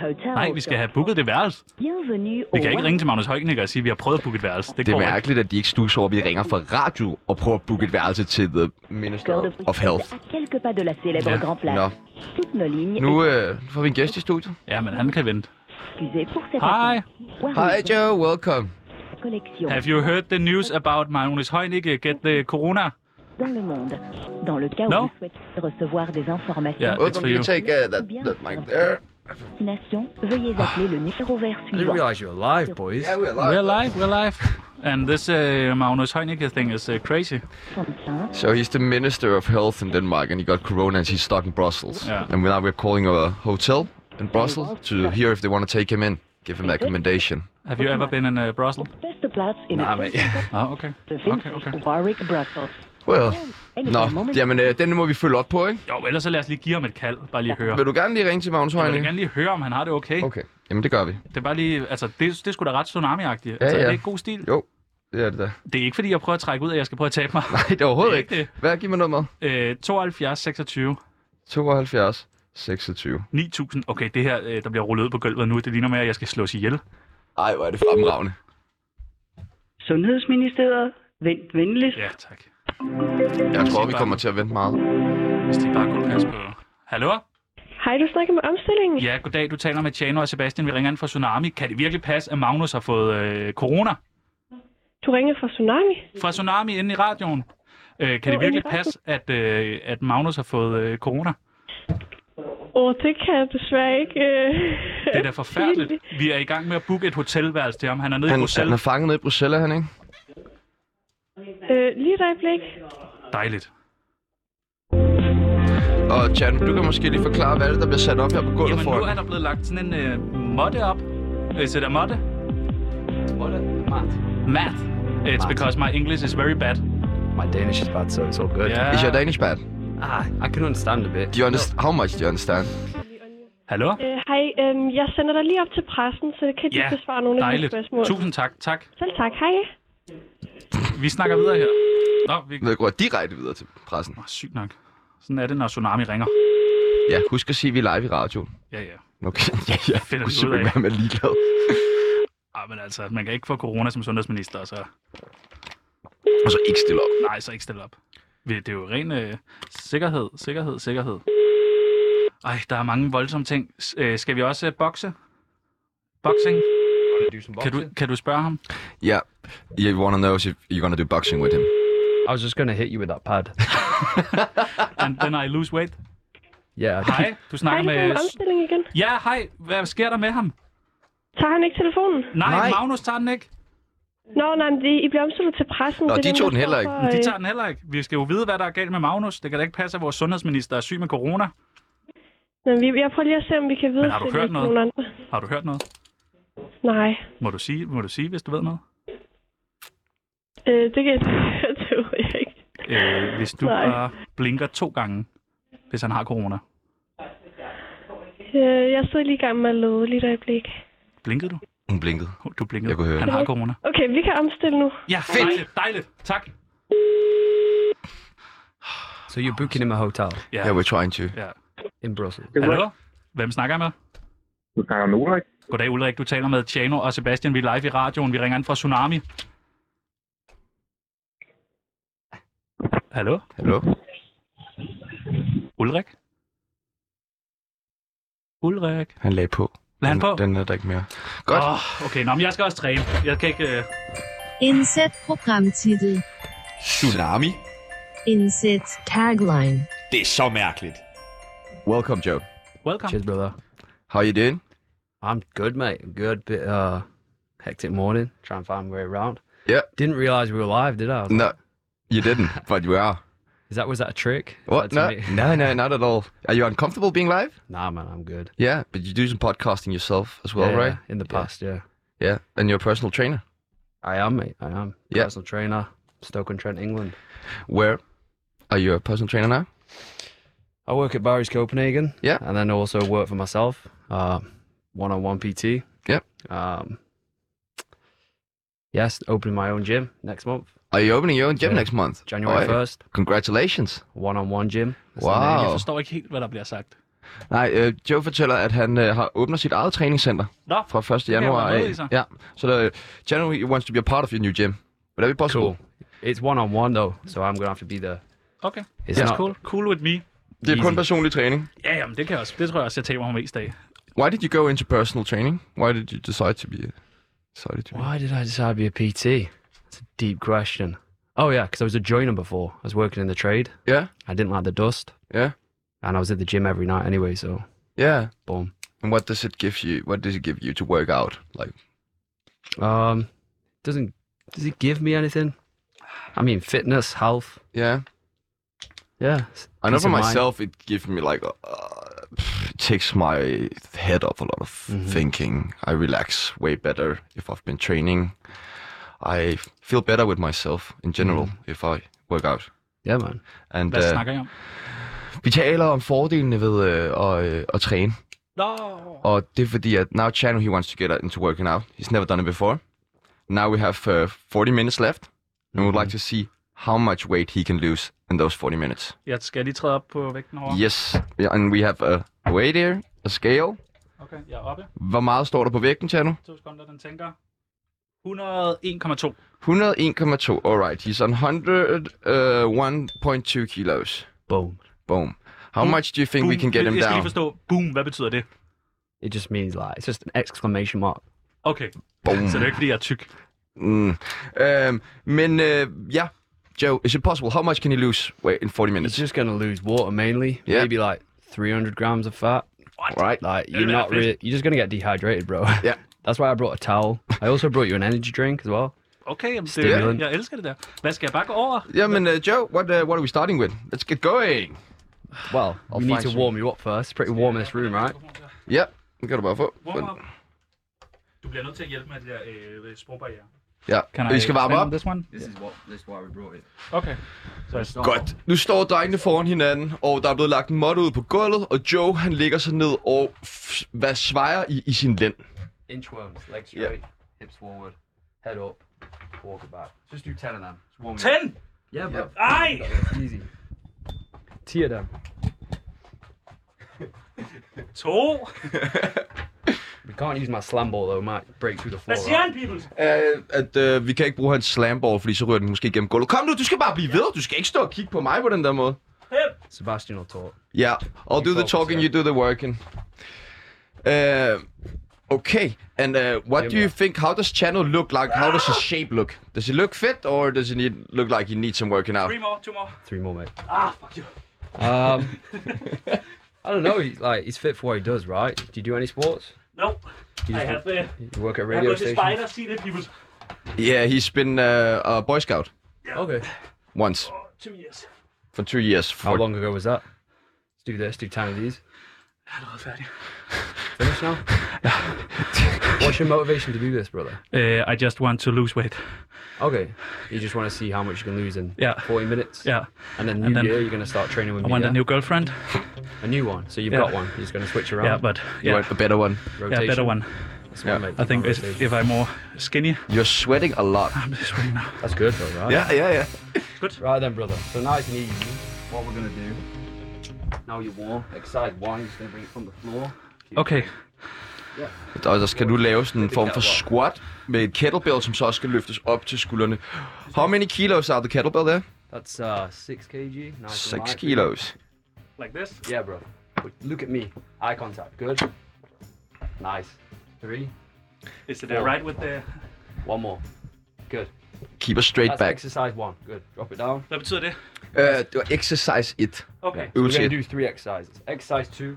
Speaker 7: Hotel.
Speaker 2: Nej, vi skal have booket det værelse.
Speaker 7: Bienvenue
Speaker 2: Vi kan ikke ringe til Magnus Højknikker og sige, at vi har prøvet at booke et værelse. Det,
Speaker 3: Det er
Speaker 2: går
Speaker 3: mærkeligt, at de ikke stus over, at vi ringer fra radio og prøver at booke et værelse til The Minister of Health.
Speaker 7: À quelques pas de la célèbre
Speaker 2: Ja.
Speaker 7: Grand Place.
Speaker 3: Nå,
Speaker 7: Toutes nos lignes
Speaker 3: euh, nu øh, får vi en gæst i studiet.
Speaker 2: ikke. Ja, men han kan vente.
Speaker 7: Excusez pour cette
Speaker 8: Hi.
Speaker 7: attention. Warwick
Speaker 3: Hi Joe, welcome.
Speaker 7: Collection
Speaker 2: Have you heard the news about Magnus Heunicke get the corona?
Speaker 7: dans le monde. Dans le cas où
Speaker 2: No.
Speaker 7: vous souhaitez recevoir des informations
Speaker 2: Yeah. It's
Speaker 3: Welcome.
Speaker 2: for
Speaker 3: Can you
Speaker 2: you.
Speaker 3: take uh, that, that mic there?
Speaker 7: destination, veuillez appeler le numéro vert
Speaker 9: I didn't
Speaker 7: suivant.
Speaker 9: realize you were alive, boys.
Speaker 3: Yeah, we're live.
Speaker 2: We're live, we're live. And this uh, Magnus Heunicke thing is uh, crazy.
Speaker 7: 35.
Speaker 3: So he's the minister of health in Denmark, and he got corona, and he's stuck in Brussels.
Speaker 2: Yeah.
Speaker 3: And now we're calling a hotel in Brussels to hear if they want to take him in, give him recommendation.
Speaker 2: Have you ever been in uh, Brussels?
Speaker 7: Beste plaats in
Speaker 9: Nah,
Speaker 7: het
Speaker 9: mate.
Speaker 7: centrum
Speaker 2: Ah, okay.
Speaker 7: bevindt
Speaker 2: Okay, okay.
Speaker 7: zich Warwick Brussels.
Speaker 3: Well.
Speaker 7: En
Speaker 3: Nå,
Speaker 7: op dit moment
Speaker 3: jamen øh, den må vi følge op på, ikke?
Speaker 2: Jo, ellers så lad os lige give ham et kald, bare lige høre.
Speaker 3: Vil du gerne lige ringe til Magnus
Speaker 2: Jeg vil
Speaker 3: Heunicke?
Speaker 2: gerne lige høre, om han har det okay.
Speaker 3: Okay, jamen det gør vi.
Speaker 2: Det er bare lige, altså, det, det er sgu da ret tsunami-agtigt. Ja, altså,
Speaker 3: ja.
Speaker 2: er det ikke god stil?
Speaker 3: Jo, det er det da.
Speaker 2: Det er ikke, fordi jeg prøver at trække ud, at jeg skal prøve at tabe mig.
Speaker 3: Nej, det er overhovedet
Speaker 2: Det er
Speaker 3: ikke. Hvad giver mig nummeret?
Speaker 2: Øh, 72, 26,
Speaker 3: 72 26.
Speaker 2: 9000. Okay, det her, øh, der bliver rullet ud på gulvet nu, det ligner mere, at jeg skal slås ihjel.
Speaker 3: Ej, hvor er det fremragende.
Speaker 10: Sundhedsministeriet, vent venligst.
Speaker 2: Ja, tak.
Speaker 3: Jeg tror, vi kommer til at vente meget.
Speaker 2: Hvis de bare kunne passe på. Hallo?
Speaker 6: Hej, du snakker med omstillingen.
Speaker 2: Ja, goddag. Du taler med Tjano og Sebastian. Vi ringer ind fra Tsunami. Kan det virkelig passe, at Magnus har fået øh, corona?
Speaker 6: Du ringer fra Tsunami.
Speaker 2: Fra Tsunami inde i radioen. Øh, kan det
Speaker 6: Nå,
Speaker 2: virkelig
Speaker 6: inde i
Speaker 2: passe, at, øh, at Magnus har fået øh, corona?
Speaker 6: Åh, det kan jeg desværre ikke. øh,
Speaker 2: Det er da forfærdeligt. Vi er i gang med at booke et hotelværelse til ham. Han er nede
Speaker 3: Han,
Speaker 2: i
Speaker 3: han er
Speaker 2: Bruxelles.
Speaker 3: fanget nede i Bruxelles, er han ikke?
Speaker 6: øh, lige et øjeblik.
Speaker 2: Dejligt.
Speaker 3: Og Jan, du kan måske lige forklare, hvad det er, der bliver sat op her på gulvet
Speaker 2: Jamen,
Speaker 3: for
Speaker 2: nu er der blevet lagt sådan en øh, måtte op. Is it a måtte? Måtte? Mat. Mat. It's
Speaker 9: Mat.
Speaker 2: because my English is very bad.
Speaker 9: My Danish is bad, so it's all good.
Speaker 2: Yeah.
Speaker 3: Øh, Is your Danish bad?
Speaker 9: Ah, I can understand a bit.
Speaker 3: Do you understand? How much do you understand?
Speaker 2: Hallo?
Speaker 6: Øh, hej, øh, jeg sender dig lige op til pressen, så kan de
Speaker 2: Ja,
Speaker 6: besvare nogle af dine
Speaker 2: Dejligt.
Speaker 6: spørgsmål.
Speaker 2: Tusind tak. Tak.
Speaker 6: Selv tak, hej.
Speaker 2: Vi snakker videre her. Nå, vi...
Speaker 3: Nu går jeg direkte videre til pressen.
Speaker 2: Nå, sygt nok. Sådan er det, når Tsunami ringer.
Speaker 3: Ja, husk at sige, at vi er live i radioen.
Speaker 2: Ja, ja.
Speaker 3: Okay, ja, ja.
Speaker 2: Finder
Speaker 3: Kunne
Speaker 2: vi ud
Speaker 3: simpelthen
Speaker 2: af.
Speaker 3: være med ligeglad.
Speaker 2: Ej, men altså, man kan ikke få corona som sundhedsminister, så
Speaker 3: Og så ikke stille op.
Speaker 2: nej, så ikke stille op. Vi- Det er jo ren øh, sikkerhed, sikkerhed, sikkerhed. Ej, der er mange voldsomme ting. S- øh, skal vi også øh, bokse? Boxing? Kan du, kan du spørge ham?
Speaker 3: Yeah. Yeah, you wanna know if you're gonna do boxing with him?
Speaker 9: I was just gonna hit you with that pad.
Speaker 2: And then I lose weight.
Speaker 9: Yeah. I-
Speaker 2: Hej, du
Speaker 6: Hej,
Speaker 2: snakker
Speaker 6: det er
Speaker 2: med...
Speaker 6: med omstilling igen.
Speaker 2: Ja, hej. Hvad sker der med ham?
Speaker 6: Tager han ikke telefonen?
Speaker 2: Nej,
Speaker 3: Nej.
Speaker 2: nej. Magnus tager den ikke.
Speaker 6: Nå, nej, men de, I bliver omstillet til pressen.
Speaker 3: Nå,
Speaker 6: det er
Speaker 3: de
Speaker 6: dem,
Speaker 3: tog
Speaker 6: der
Speaker 3: den heller
Speaker 6: står
Speaker 3: ikke.
Speaker 6: for,
Speaker 2: Men de
Speaker 6: øh,
Speaker 2: tager den heller ikke. Vi skal jo vide, hvad der er galt med Magnus. Det kan da ikke passe, at vores sundhedsminister er syg med corona.
Speaker 6: Nå, men vi- jeg prøver lige at se, om vi kan vide,
Speaker 2: Men har du hørt noget?
Speaker 6: nogen andre.
Speaker 2: Har du hørt noget?
Speaker 6: Nej,
Speaker 2: Må du sige, må du sige hvis du ved noget?
Speaker 6: øh, det kan jeg det ved jeg ikke.
Speaker 2: Øh, hvis du
Speaker 6: Nej.
Speaker 2: bare blinker to gange, hvis han har corona.
Speaker 6: Øh, jeg sidder lige i gang med at lede lige et øjeblik.
Speaker 2: Blinkede du?
Speaker 3: Hun blinkede.
Speaker 2: Du blinkede.
Speaker 3: Jeg kunne høre
Speaker 2: Han
Speaker 3: det.
Speaker 2: har corona.
Speaker 6: Okay, vi kan omstille nu.
Speaker 2: Ja, Fedt. dejligt. Dejligt. Tak.
Speaker 9: so you're booking him a hotel
Speaker 2: Ja.
Speaker 3: Yeah, we're trying to.
Speaker 2: ja.
Speaker 9: in Brussels.
Speaker 2: Hallo? Hvem snakker jeg med?
Speaker 11: Du snakker med Ulrik.
Speaker 2: Goddag Ulrik, du taler med Tjano og Sebastian. Vi er live i radioen. Vi ringer ind fra Tsunami. Hallo?
Speaker 3: Hello?
Speaker 2: Ulrik? Ulrik?
Speaker 3: Han lagde på.
Speaker 2: Lad han på.
Speaker 3: Den, den er der ikke mere. Godt. Oh.
Speaker 2: Åh, oh, okay. Nå, men jeg skal også træne. Jeg kan ikke... Øh...
Speaker 5: Indsæt programtitel.
Speaker 12: Tsunami?
Speaker 5: Indsæt tagline.
Speaker 11: Det er så mærkeligt.
Speaker 3: Welcome, Joe.
Speaker 2: Welcome.
Speaker 9: Cheers, brother.
Speaker 3: How you doing?
Speaker 9: I'm good, mate. I'm good. Bit uh, hectic morning. Trying to find my way around.
Speaker 3: Yeah.
Speaker 9: Didn't realize we were live, did I? I was like,
Speaker 3: No, you didn't, but you are.
Speaker 9: Is that was that a trick? Is
Speaker 3: What?
Speaker 9: that to
Speaker 3: No,
Speaker 9: make-
Speaker 3: no, no, not at all. Are you uncomfortable being live?
Speaker 9: Nah, man, I'm good.
Speaker 3: Yeah, but you do some podcasting yourself as well,
Speaker 9: Yeah,
Speaker 3: right?
Speaker 9: yeah, In the past, yeah.
Speaker 3: Yeah. and you're a personal trainer.
Speaker 9: I am, mate. I am.
Speaker 3: Yeah.
Speaker 9: Personal trainer, Stoke-on-Trent, England.
Speaker 3: Where are you a personal trainer now?
Speaker 9: I work at Barry's Copenhagen.
Speaker 3: Yeah.
Speaker 9: And then also work for myself, uh, one-on-one PT.
Speaker 3: Yep.
Speaker 9: Um, yes, opening my own gym next month,
Speaker 3: Are you opening your own gym
Speaker 9: Yeah.
Speaker 3: next month?
Speaker 9: January
Speaker 3: Oh, hey.
Speaker 9: 1st.
Speaker 3: Congratulations.
Speaker 9: One-on-one gym.
Speaker 2: Jeg
Speaker 3: Wow.
Speaker 2: forstår ikke helt, hvad der bliver sagt.
Speaker 3: Nej, øh, Joe fortæller, at han øh, har åbner sit eget træningscenter
Speaker 2: Nå,
Speaker 3: fra 1.
Speaker 2: jeg
Speaker 3: januar
Speaker 2: være med
Speaker 3: af.
Speaker 2: i, så.
Speaker 3: Ja, så der, January wants to be a part of your new gym. Would that be possible?
Speaker 9: Cool. It's one-on-one though, so I'm gonna have to be there.
Speaker 2: okay.
Speaker 9: It's
Speaker 2: That's
Speaker 9: not-
Speaker 2: cool. Cool with me.
Speaker 3: Det er kun
Speaker 9: Easy.
Speaker 3: personlig træning.
Speaker 2: Ja, jamen, det kan jeg også. Det tror jeg også, jeg taber mig mest af.
Speaker 3: Why did you go into personal training? Why did you decide to be a, decided to be?
Speaker 9: Why did I decide to be a PT? That's a deep question. Oh yeah, because I was a joiner before. I was working in the trade.
Speaker 3: Yeah.
Speaker 9: I didn't like the dust.
Speaker 3: Yeah.
Speaker 9: And I was at the gym every night anyway, so
Speaker 3: Yeah.
Speaker 9: Boom.
Speaker 3: And what does it give you? What does it give you to work out? Like,
Speaker 9: um, doesn't does it give me anything? I mean, fitness, health.
Speaker 3: Yeah.
Speaker 9: Yeah.
Speaker 3: I know
Speaker 9: peace
Speaker 3: for
Speaker 9: of mind.
Speaker 3: myself, it gives me like uh, it takes my head off a lot of
Speaker 9: Mm-hmm.
Speaker 3: thinking. I relax way better if I've been training. I feel better with myself in general
Speaker 9: Mm-hmm.
Speaker 3: if I work out.
Speaker 9: Yeah, man.
Speaker 3: And,
Speaker 2: Hvad
Speaker 3: øh,
Speaker 2: snakker I om?
Speaker 3: Vi taler om fordelene ved øh, at, øh, at træne.
Speaker 2: Nå,
Speaker 3: Og det er fordi, at now Chano, he wants to get uh, into working out. He's never done it before. Now we have uh, 40 minutes left. And we would like to
Speaker 2: Mm-hmm.
Speaker 3: see how much weight he can lose in those 40 minutes.
Speaker 2: jeg skal lige træde op på vægten over.
Speaker 3: Yes, yeah, and we have a weight here, a scale.
Speaker 2: Okay, jeg er oppe.
Speaker 3: Hvor meget står der på vægten, Chano?
Speaker 2: To sekunder, den tænker. 101,2.
Speaker 3: 101,2. All right, he's on øh, 101.2 kilos.
Speaker 9: Boom.
Speaker 3: Boom. How much do you think we
Speaker 2: Mm. Boom.
Speaker 3: can get him
Speaker 2: Jeg skal lige
Speaker 3: down?
Speaker 2: forstå, boom, hvad betyder det?
Speaker 9: It just means like it's just an exclamation mark.
Speaker 2: Okay,
Speaker 3: Boom.
Speaker 2: så det er jo ikke, fordi jeg er tyk.
Speaker 3: Mm. Um, men uh, yeah, Joe, is it possible? How much can he lose? Wait, in 40
Speaker 9: It's
Speaker 3: minutes.
Speaker 9: just gonna lose water mainly.
Speaker 3: Yeah.
Speaker 9: Maybe like 300 grams of fat.
Speaker 3: All right.
Speaker 9: Like
Speaker 2: Yeah,
Speaker 9: you're not
Speaker 2: fit.
Speaker 9: really. You're just gonna get dehydrated, bro.
Speaker 3: Yeah.
Speaker 9: That's why I brought a towel. I also brought you an energy drink as well.
Speaker 2: Okay, jamen, det,
Speaker 9: Stimulant.
Speaker 2: jeg elsker det der. Hvad skal jeg bare gå over?
Speaker 3: Yeah, man, uh, Joe, what uh, what are we starting with? Let's get going.
Speaker 9: Well,
Speaker 3: I'll
Speaker 9: we need
Speaker 3: find
Speaker 9: to
Speaker 3: some.
Speaker 9: warm you up first. It's pretty warm in this room, right?
Speaker 3: Yeah, we got about four.
Speaker 2: Warm up. Du bliver nødt til at hjælpe med det der øh, sprogbarriere.
Speaker 3: Ja,
Speaker 2: Can
Speaker 3: vi
Speaker 2: I
Speaker 3: skal varme
Speaker 2: explain
Speaker 3: op.
Speaker 2: This one?
Speaker 4: This is what. This is why we brought it.
Speaker 2: Okay. Så jeg står.
Speaker 3: Godt. Nu står drengene foran hinanden, og der er blevet lagt en måtte ud på gulvet, og Joe han ligger sig ned og f- hvad svejer i, i sin lænd.
Speaker 9: Inchworms, legs
Speaker 3: Yeah.
Speaker 9: hips forward, head up, walk back. Just do 10 of them. Just warm
Speaker 2: 10!
Speaker 9: Yeah, bro.
Speaker 2: Ej!
Speaker 9: Easy. 10 of them.
Speaker 2: 2!
Speaker 9: We can't use my slam ball though, might break through the floor.
Speaker 2: Hvad siger
Speaker 9: Right?
Speaker 2: han, people?
Speaker 3: Uh, at øh, vi kan ikke bruge hans slamball, fordi så ryger den måske igennem gulvet. Kom nu, du skal bare blive ved. Du skal ikke stå og kigge på mig på den der måde.
Speaker 2: 5!
Speaker 9: Sebastian will talk.
Speaker 3: Ja, yeah. I'll do the
Speaker 9: focus,
Speaker 3: talking,
Speaker 9: ja.
Speaker 3: you do the working. Uh, okay, and uh, what do you think? How does Channel look like? How does his shape look? Does he look fit, or does he need, look like he needs some working out?
Speaker 2: 3 more, 2 more.
Speaker 9: Three more, mate.
Speaker 2: Ah, fuck you.
Speaker 9: Um, I don't know. He's like he's fit for what he does, right? Do you do any sports?
Speaker 2: No.
Speaker 9: You,
Speaker 2: I
Speaker 9: just,
Speaker 2: have, uh,
Speaker 9: you work at a
Speaker 2: jeg har
Speaker 9: radio
Speaker 2: gået til
Speaker 9: station.
Speaker 2: spider, sig det, people.
Speaker 3: Yeah, he's been uh, a Boy Scout
Speaker 9: Okay.
Speaker 3: once
Speaker 2: Two years.
Speaker 3: for two years.
Speaker 9: How
Speaker 3: For
Speaker 9: long ago was that? Let's do this. Do ten of these.
Speaker 2: Jeg er allerede færdig.
Speaker 9: Finish now. What's your motivation to do this, brother?
Speaker 2: Uh, I just want to lose weight.
Speaker 9: Okay. You just want to see how much you can lose in
Speaker 2: Yeah.
Speaker 9: 40 minutes.
Speaker 2: Yeah.
Speaker 9: And then new
Speaker 2: And then-
Speaker 9: year, you're going to start training with
Speaker 2: I
Speaker 9: me.
Speaker 2: want
Speaker 9: yeah?
Speaker 2: a new girlfriend.
Speaker 9: A new one. So you've
Speaker 2: Yeah.
Speaker 9: got one. You're just going to switch around.
Speaker 2: Yeah, but
Speaker 3: you
Speaker 2: yeah,
Speaker 3: want a better one.
Speaker 9: rotation.
Speaker 2: yeah, better one.
Speaker 9: That's what
Speaker 3: Yeah.
Speaker 9: make
Speaker 2: I think if,
Speaker 9: rotation.
Speaker 2: if I'm more skinny,
Speaker 3: You're sweating a lot.
Speaker 2: I'm just ready now.
Speaker 9: that's good though, right?
Speaker 3: Yeah, yeah, yeah.
Speaker 9: Right then, brother. So now it's an easy. What we're going to do. Now you're warm. Excited one. You're just going to bring it from the floor.
Speaker 2: Okay.
Speaker 3: Og så skal du lave sådan en form for squat med et kettlebell, som så også skal løftes op til skuldrene. How many kilos are the kettlebell there?
Speaker 9: That's uh, 6 kg. Nice
Speaker 3: 6 kilos.
Speaker 2: Like this.
Speaker 9: Yeah, bro. But look at me. Eye contact. Good. Nice. Three.
Speaker 2: Is it uh, right with the...
Speaker 9: One more. Good.
Speaker 3: Keep a straight
Speaker 9: That's
Speaker 3: back.
Speaker 9: exercise one. Good. Drop it down.
Speaker 2: Hvad betyder det?
Speaker 3: Øh, det var exercise 1.
Speaker 2: Okay.
Speaker 9: We're
Speaker 3: Øvelse
Speaker 9: gonna
Speaker 3: 1.
Speaker 9: do three exercises. Exercise two.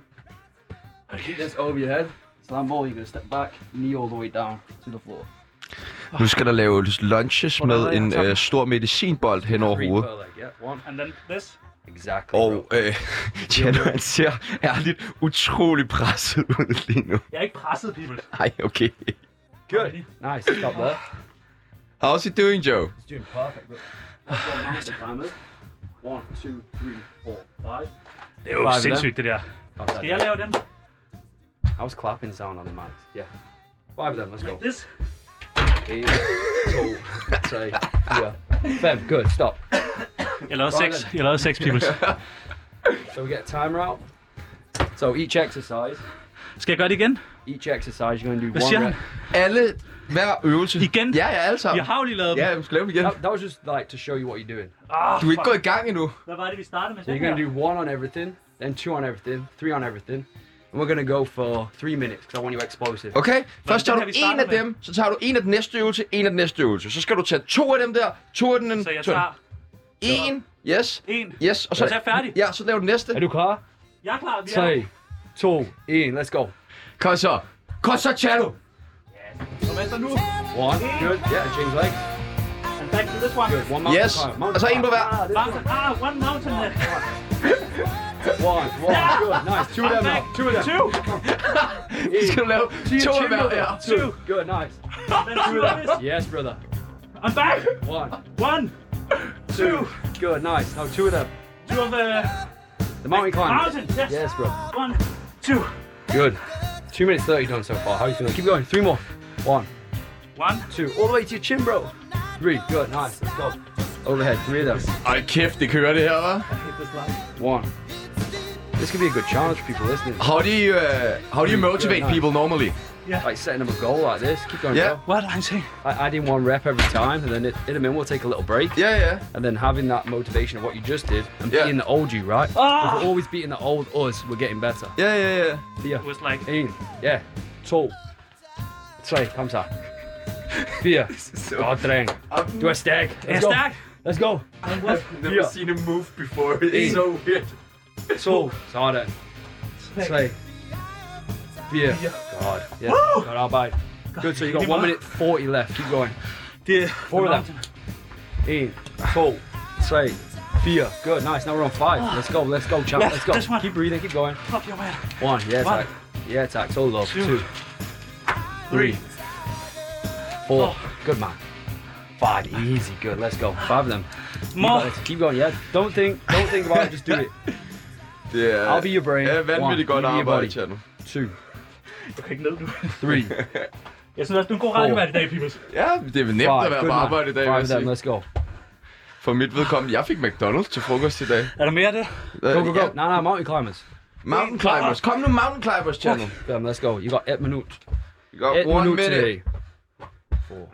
Speaker 9: Keep this over your head. Slam ball. You're gonna step back, knee all the way down to the floor.
Speaker 3: Nu skal der laves lunches med
Speaker 2: Hvordan er
Speaker 3: en
Speaker 2: jeg sammen?
Speaker 3: øh, stor medicinbold hen over
Speaker 9: Three
Speaker 3: hovedet.
Speaker 9: per leg. Yeah, one.
Speaker 2: And then this.
Speaker 9: Exactly.
Speaker 3: Og
Speaker 9: bro.
Speaker 3: øh, Tjano, han ser ærligt utrolig presset ud lige nu.
Speaker 2: Jeg er ikke presset, people.
Speaker 3: Ej, okay.
Speaker 9: Good. Nice. Stop there.
Speaker 3: How's he doing, Joe?
Speaker 9: It's doing perfect. Bro. That's what I'm after, timers. One, two, three, four, five.
Speaker 2: Det er jo
Speaker 9: Bare det
Speaker 2: sindssygt, det der.
Speaker 9: Outside
Speaker 2: Skal jeg
Speaker 9: there.
Speaker 2: lave den?
Speaker 9: Oh, I was clapping sound on the mics. Yeah. Five of them. Let's go.
Speaker 2: This.
Speaker 9: Eight, two, three, yeah. Fem. Good. Stop.
Speaker 2: Jeg lavede
Speaker 9: Right
Speaker 2: seks. Jeg lavede seks, people.
Speaker 9: So we get a timer out. So each exercise,
Speaker 2: Skal jeg gøre det igen?
Speaker 9: each exercise, you're gonna do
Speaker 2: Hvad
Speaker 9: one
Speaker 2: siger
Speaker 9: rep.
Speaker 2: han?
Speaker 3: Alle, hver øvelse.
Speaker 2: Igen?
Speaker 3: Ja, ja, alle
Speaker 2: Jeg
Speaker 3: sammen.
Speaker 2: har jo lige lavet dem.
Speaker 3: Ja, vi skal lave dem igen.
Speaker 9: That, that was just like to show you what you're doing.
Speaker 2: Ah,
Speaker 3: Du er ikke
Speaker 2: fuck.
Speaker 3: gået i gang endnu.
Speaker 2: Hvad var det, vi startede med?
Speaker 9: So you're
Speaker 2: Den
Speaker 9: gonna
Speaker 2: her?
Speaker 9: do one on everything, then two on everything, three on everything, And we're gonna go for three minutes, because I want you explosive.
Speaker 3: Okay,
Speaker 9: Hvordan
Speaker 3: først tager du
Speaker 9: har vi
Speaker 3: en
Speaker 9: startet
Speaker 3: af
Speaker 9: med?
Speaker 3: dem, så tager du en af den næste øvelse, en af den næste øvelse. Så skal du tage to af dem der, to af den anden. Så jeg
Speaker 2: tager-
Speaker 3: En, yes.
Speaker 2: En.
Speaker 3: Yes, og så...
Speaker 9: Så er jeg færdig.
Speaker 3: Ja, så laver du næste.
Speaker 9: Er du klar?
Speaker 2: Jeg er klar, vi er.
Speaker 9: Tre, to, en, let's go.
Speaker 3: Kom så. Kom så, Chado.
Speaker 2: Så venter nu.
Speaker 9: One, good, yeah, change leg.
Speaker 2: And back to this one.
Speaker 9: Good, one mountain
Speaker 3: Yes,
Speaker 9: climb.
Speaker 3: og så en på hver.
Speaker 2: Mountain. Ah, one mountain.
Speaker 9: One, one, good, nice. Two of them now, two of them.
Speaker 2: Two.
Speaker 3: Så skal du lave to af hver. Ja.
Speaker 9: Two, good, nice.
Speaker 2: Let's do this.
Speaker 9: Yes, brother.
Speaker 2: I'm back.
Speaker 9: One,
Speaker 2: One. Two.
Speaker 9: good, nice. Now two of them.
Speaker 2: Two of the
Speaker 9: The mountain climb.
Speaker 2: mountain. Yes.
Speaker 9: Yes, bro.
Speaker 2: One. Two.
Speaker 9: Good. Two minutes thirty done so far. How are you feeling? Keep going. Three more. One,
Speaker 2: One.
Speaker 9: two, all the way to your chin, bro. Three, good, nice. Let's go. Overhead, three of them.
Speaker 3: Ej, kæft, det kører det her, hva'?
Speaker 9: One. This could be a good challenge for people listening.
Speaker 3: How do you, uh, how do you motivate people normally?
Speaker 9: Like setting up a goal like this. Keep going.
Speaker 3: Yeah.
Speaker 2: What I'm saying.
Speaker 9: bro. I adding one rep every time, and then it, in a minute we'll take a little break,
Speaker 3: Ja, ja.
Speaker 9: and then having that motivation of what you just did and
Speaker 3: Yeah.
Speaker 9: beating the old you, right? If we're always beating the old us, we're getting better.
Speaker 3: Ja, ja, ja.
Speaker 9: Yeah.
Speaker 4: It was like,
Speaker 9: En, ja, to, tre, kom så. Fire. Godt, dreng. Du er stærk. Let's
Speaker 2: Jeg er
Speaker 9: go.
Speaker 2: stærk.
Speaker 9: Let's go.
Speaker 11: Never seen a move before. It's
Speaker 9: En.
Speaker 11: so weird.
Speaker 9: To. Sådan. Tre. Fire. Godt. Yes. Godt arbejde. Good, so you got 1 minute 40 left. Keep going.
Speaker 2: Det.
Speaker 9: Four of them. En, to, tre, fire. Good, nice. Now we're on five. Let's go, let's go, champ. Let's go.
Speaker 2: This one.
Speaker 9: Keep breathing, keep going.
Speaker 2: Fuck your man.
Speaker 9: One, yeah,
Speaker 2: One.
Speaker 9: attack. Yeah, attack. So low.
Speaker 2: Two.
Speaker 9: Two. Three. Four. Good man. Five. Easy. Good. Let's go. Five of them. You
Speaker 2: More.
Speaker 9: got it. Keep going. Yeah. Don't think. Don't think about it. Just do it.
Speaker 1: Det er,
Speaker 9: I'll be your brain.
Speaker 1: er vanvittigt
Speaker 9: One.
Speaker 1: godt
Speaker 9: You be your
Speaker 1: arbejde,
Speaker 9: body.
Speaker 1: Chano.
Speaker 9: Two.
Speaker 2: Du kan ikke ned nu.
Speaker 9: Three.
Speaker 2: Jeg synes også, du er en god radiovært i dag, Pibus.
Speaker 1: Ja, det er nemt at være
Speaker 9: Good
Speaker 1: på
Speaker 9: man.
Speaker 1: arbejde i dag, vil
Speaker 9: Five
Speaker 1: jeg
Speaker 9: of them.
Speaker 1: sige.
Speaker 9: Let's go.
Speaker 1: For mit vedkommende, jeg fik McDonald's til frokost i dag.
Speaker 2: Er der mere af det?
Speaker 9: Go go go. No no mountain climbers.
Speaker 1: Mountain climbers. Kom nu, mountain climbers, Chano.
Speaker 9: Them. Let's go. You got eight minutes.
Speaker 1: You got
Speaker 9: Eight
Speaker 1: one
Speaker 9: minutes
Speaker 1: minute.
Speaker 9: today. Four.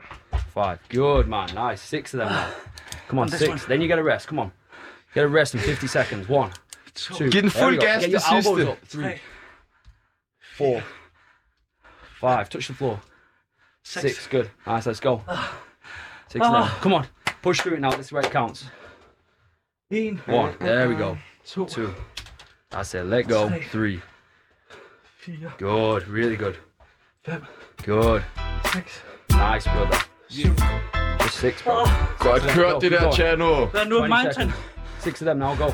Speaker 9: Five. Good man. Nice. Six of them. Man. Come on.
Speaker 2: this
Speaker 9: Six. Then you get a rest. Come on. Get a rest in 50 seconds. One. Two.
Speaker 1: Giv den
Speaker 9: There we
Speaker 1: fuld
Speaker 9: go.
Speaker 1: gas
Speaker 9: Get
Speaker 1: til
Speaker 9: your elbows
Speaker 1: sidste.
Speaker 9: up. Three. Four. Five. Touch the floor. Six. Ah. Good. Nice. Let's go. Six. of them. Come on. Push through it now. This is where it counts.
Speaker 2: En.
Speaker 9: One. There we go.
Speaker 2: To.
Speaker 9: Ah. Two. That's it. Let go. Three.
Speaker 2: Fire.
Speaker 9: Good. Really good.
Speaker 2: Fem.
Speaker 9: Good.
Speaker 2: Seks.
Speaker 9: Nice, brother. Just six, bro.
Speaker 1: Godt kørt, det der,
Speaker 9: Keep going.
Speaker 1: Chano.
Speaker 2: Der er nu et
Speaker 9: 20
Speaker 2: mountain.
Speaker 9: seconds. Six of them now. Go.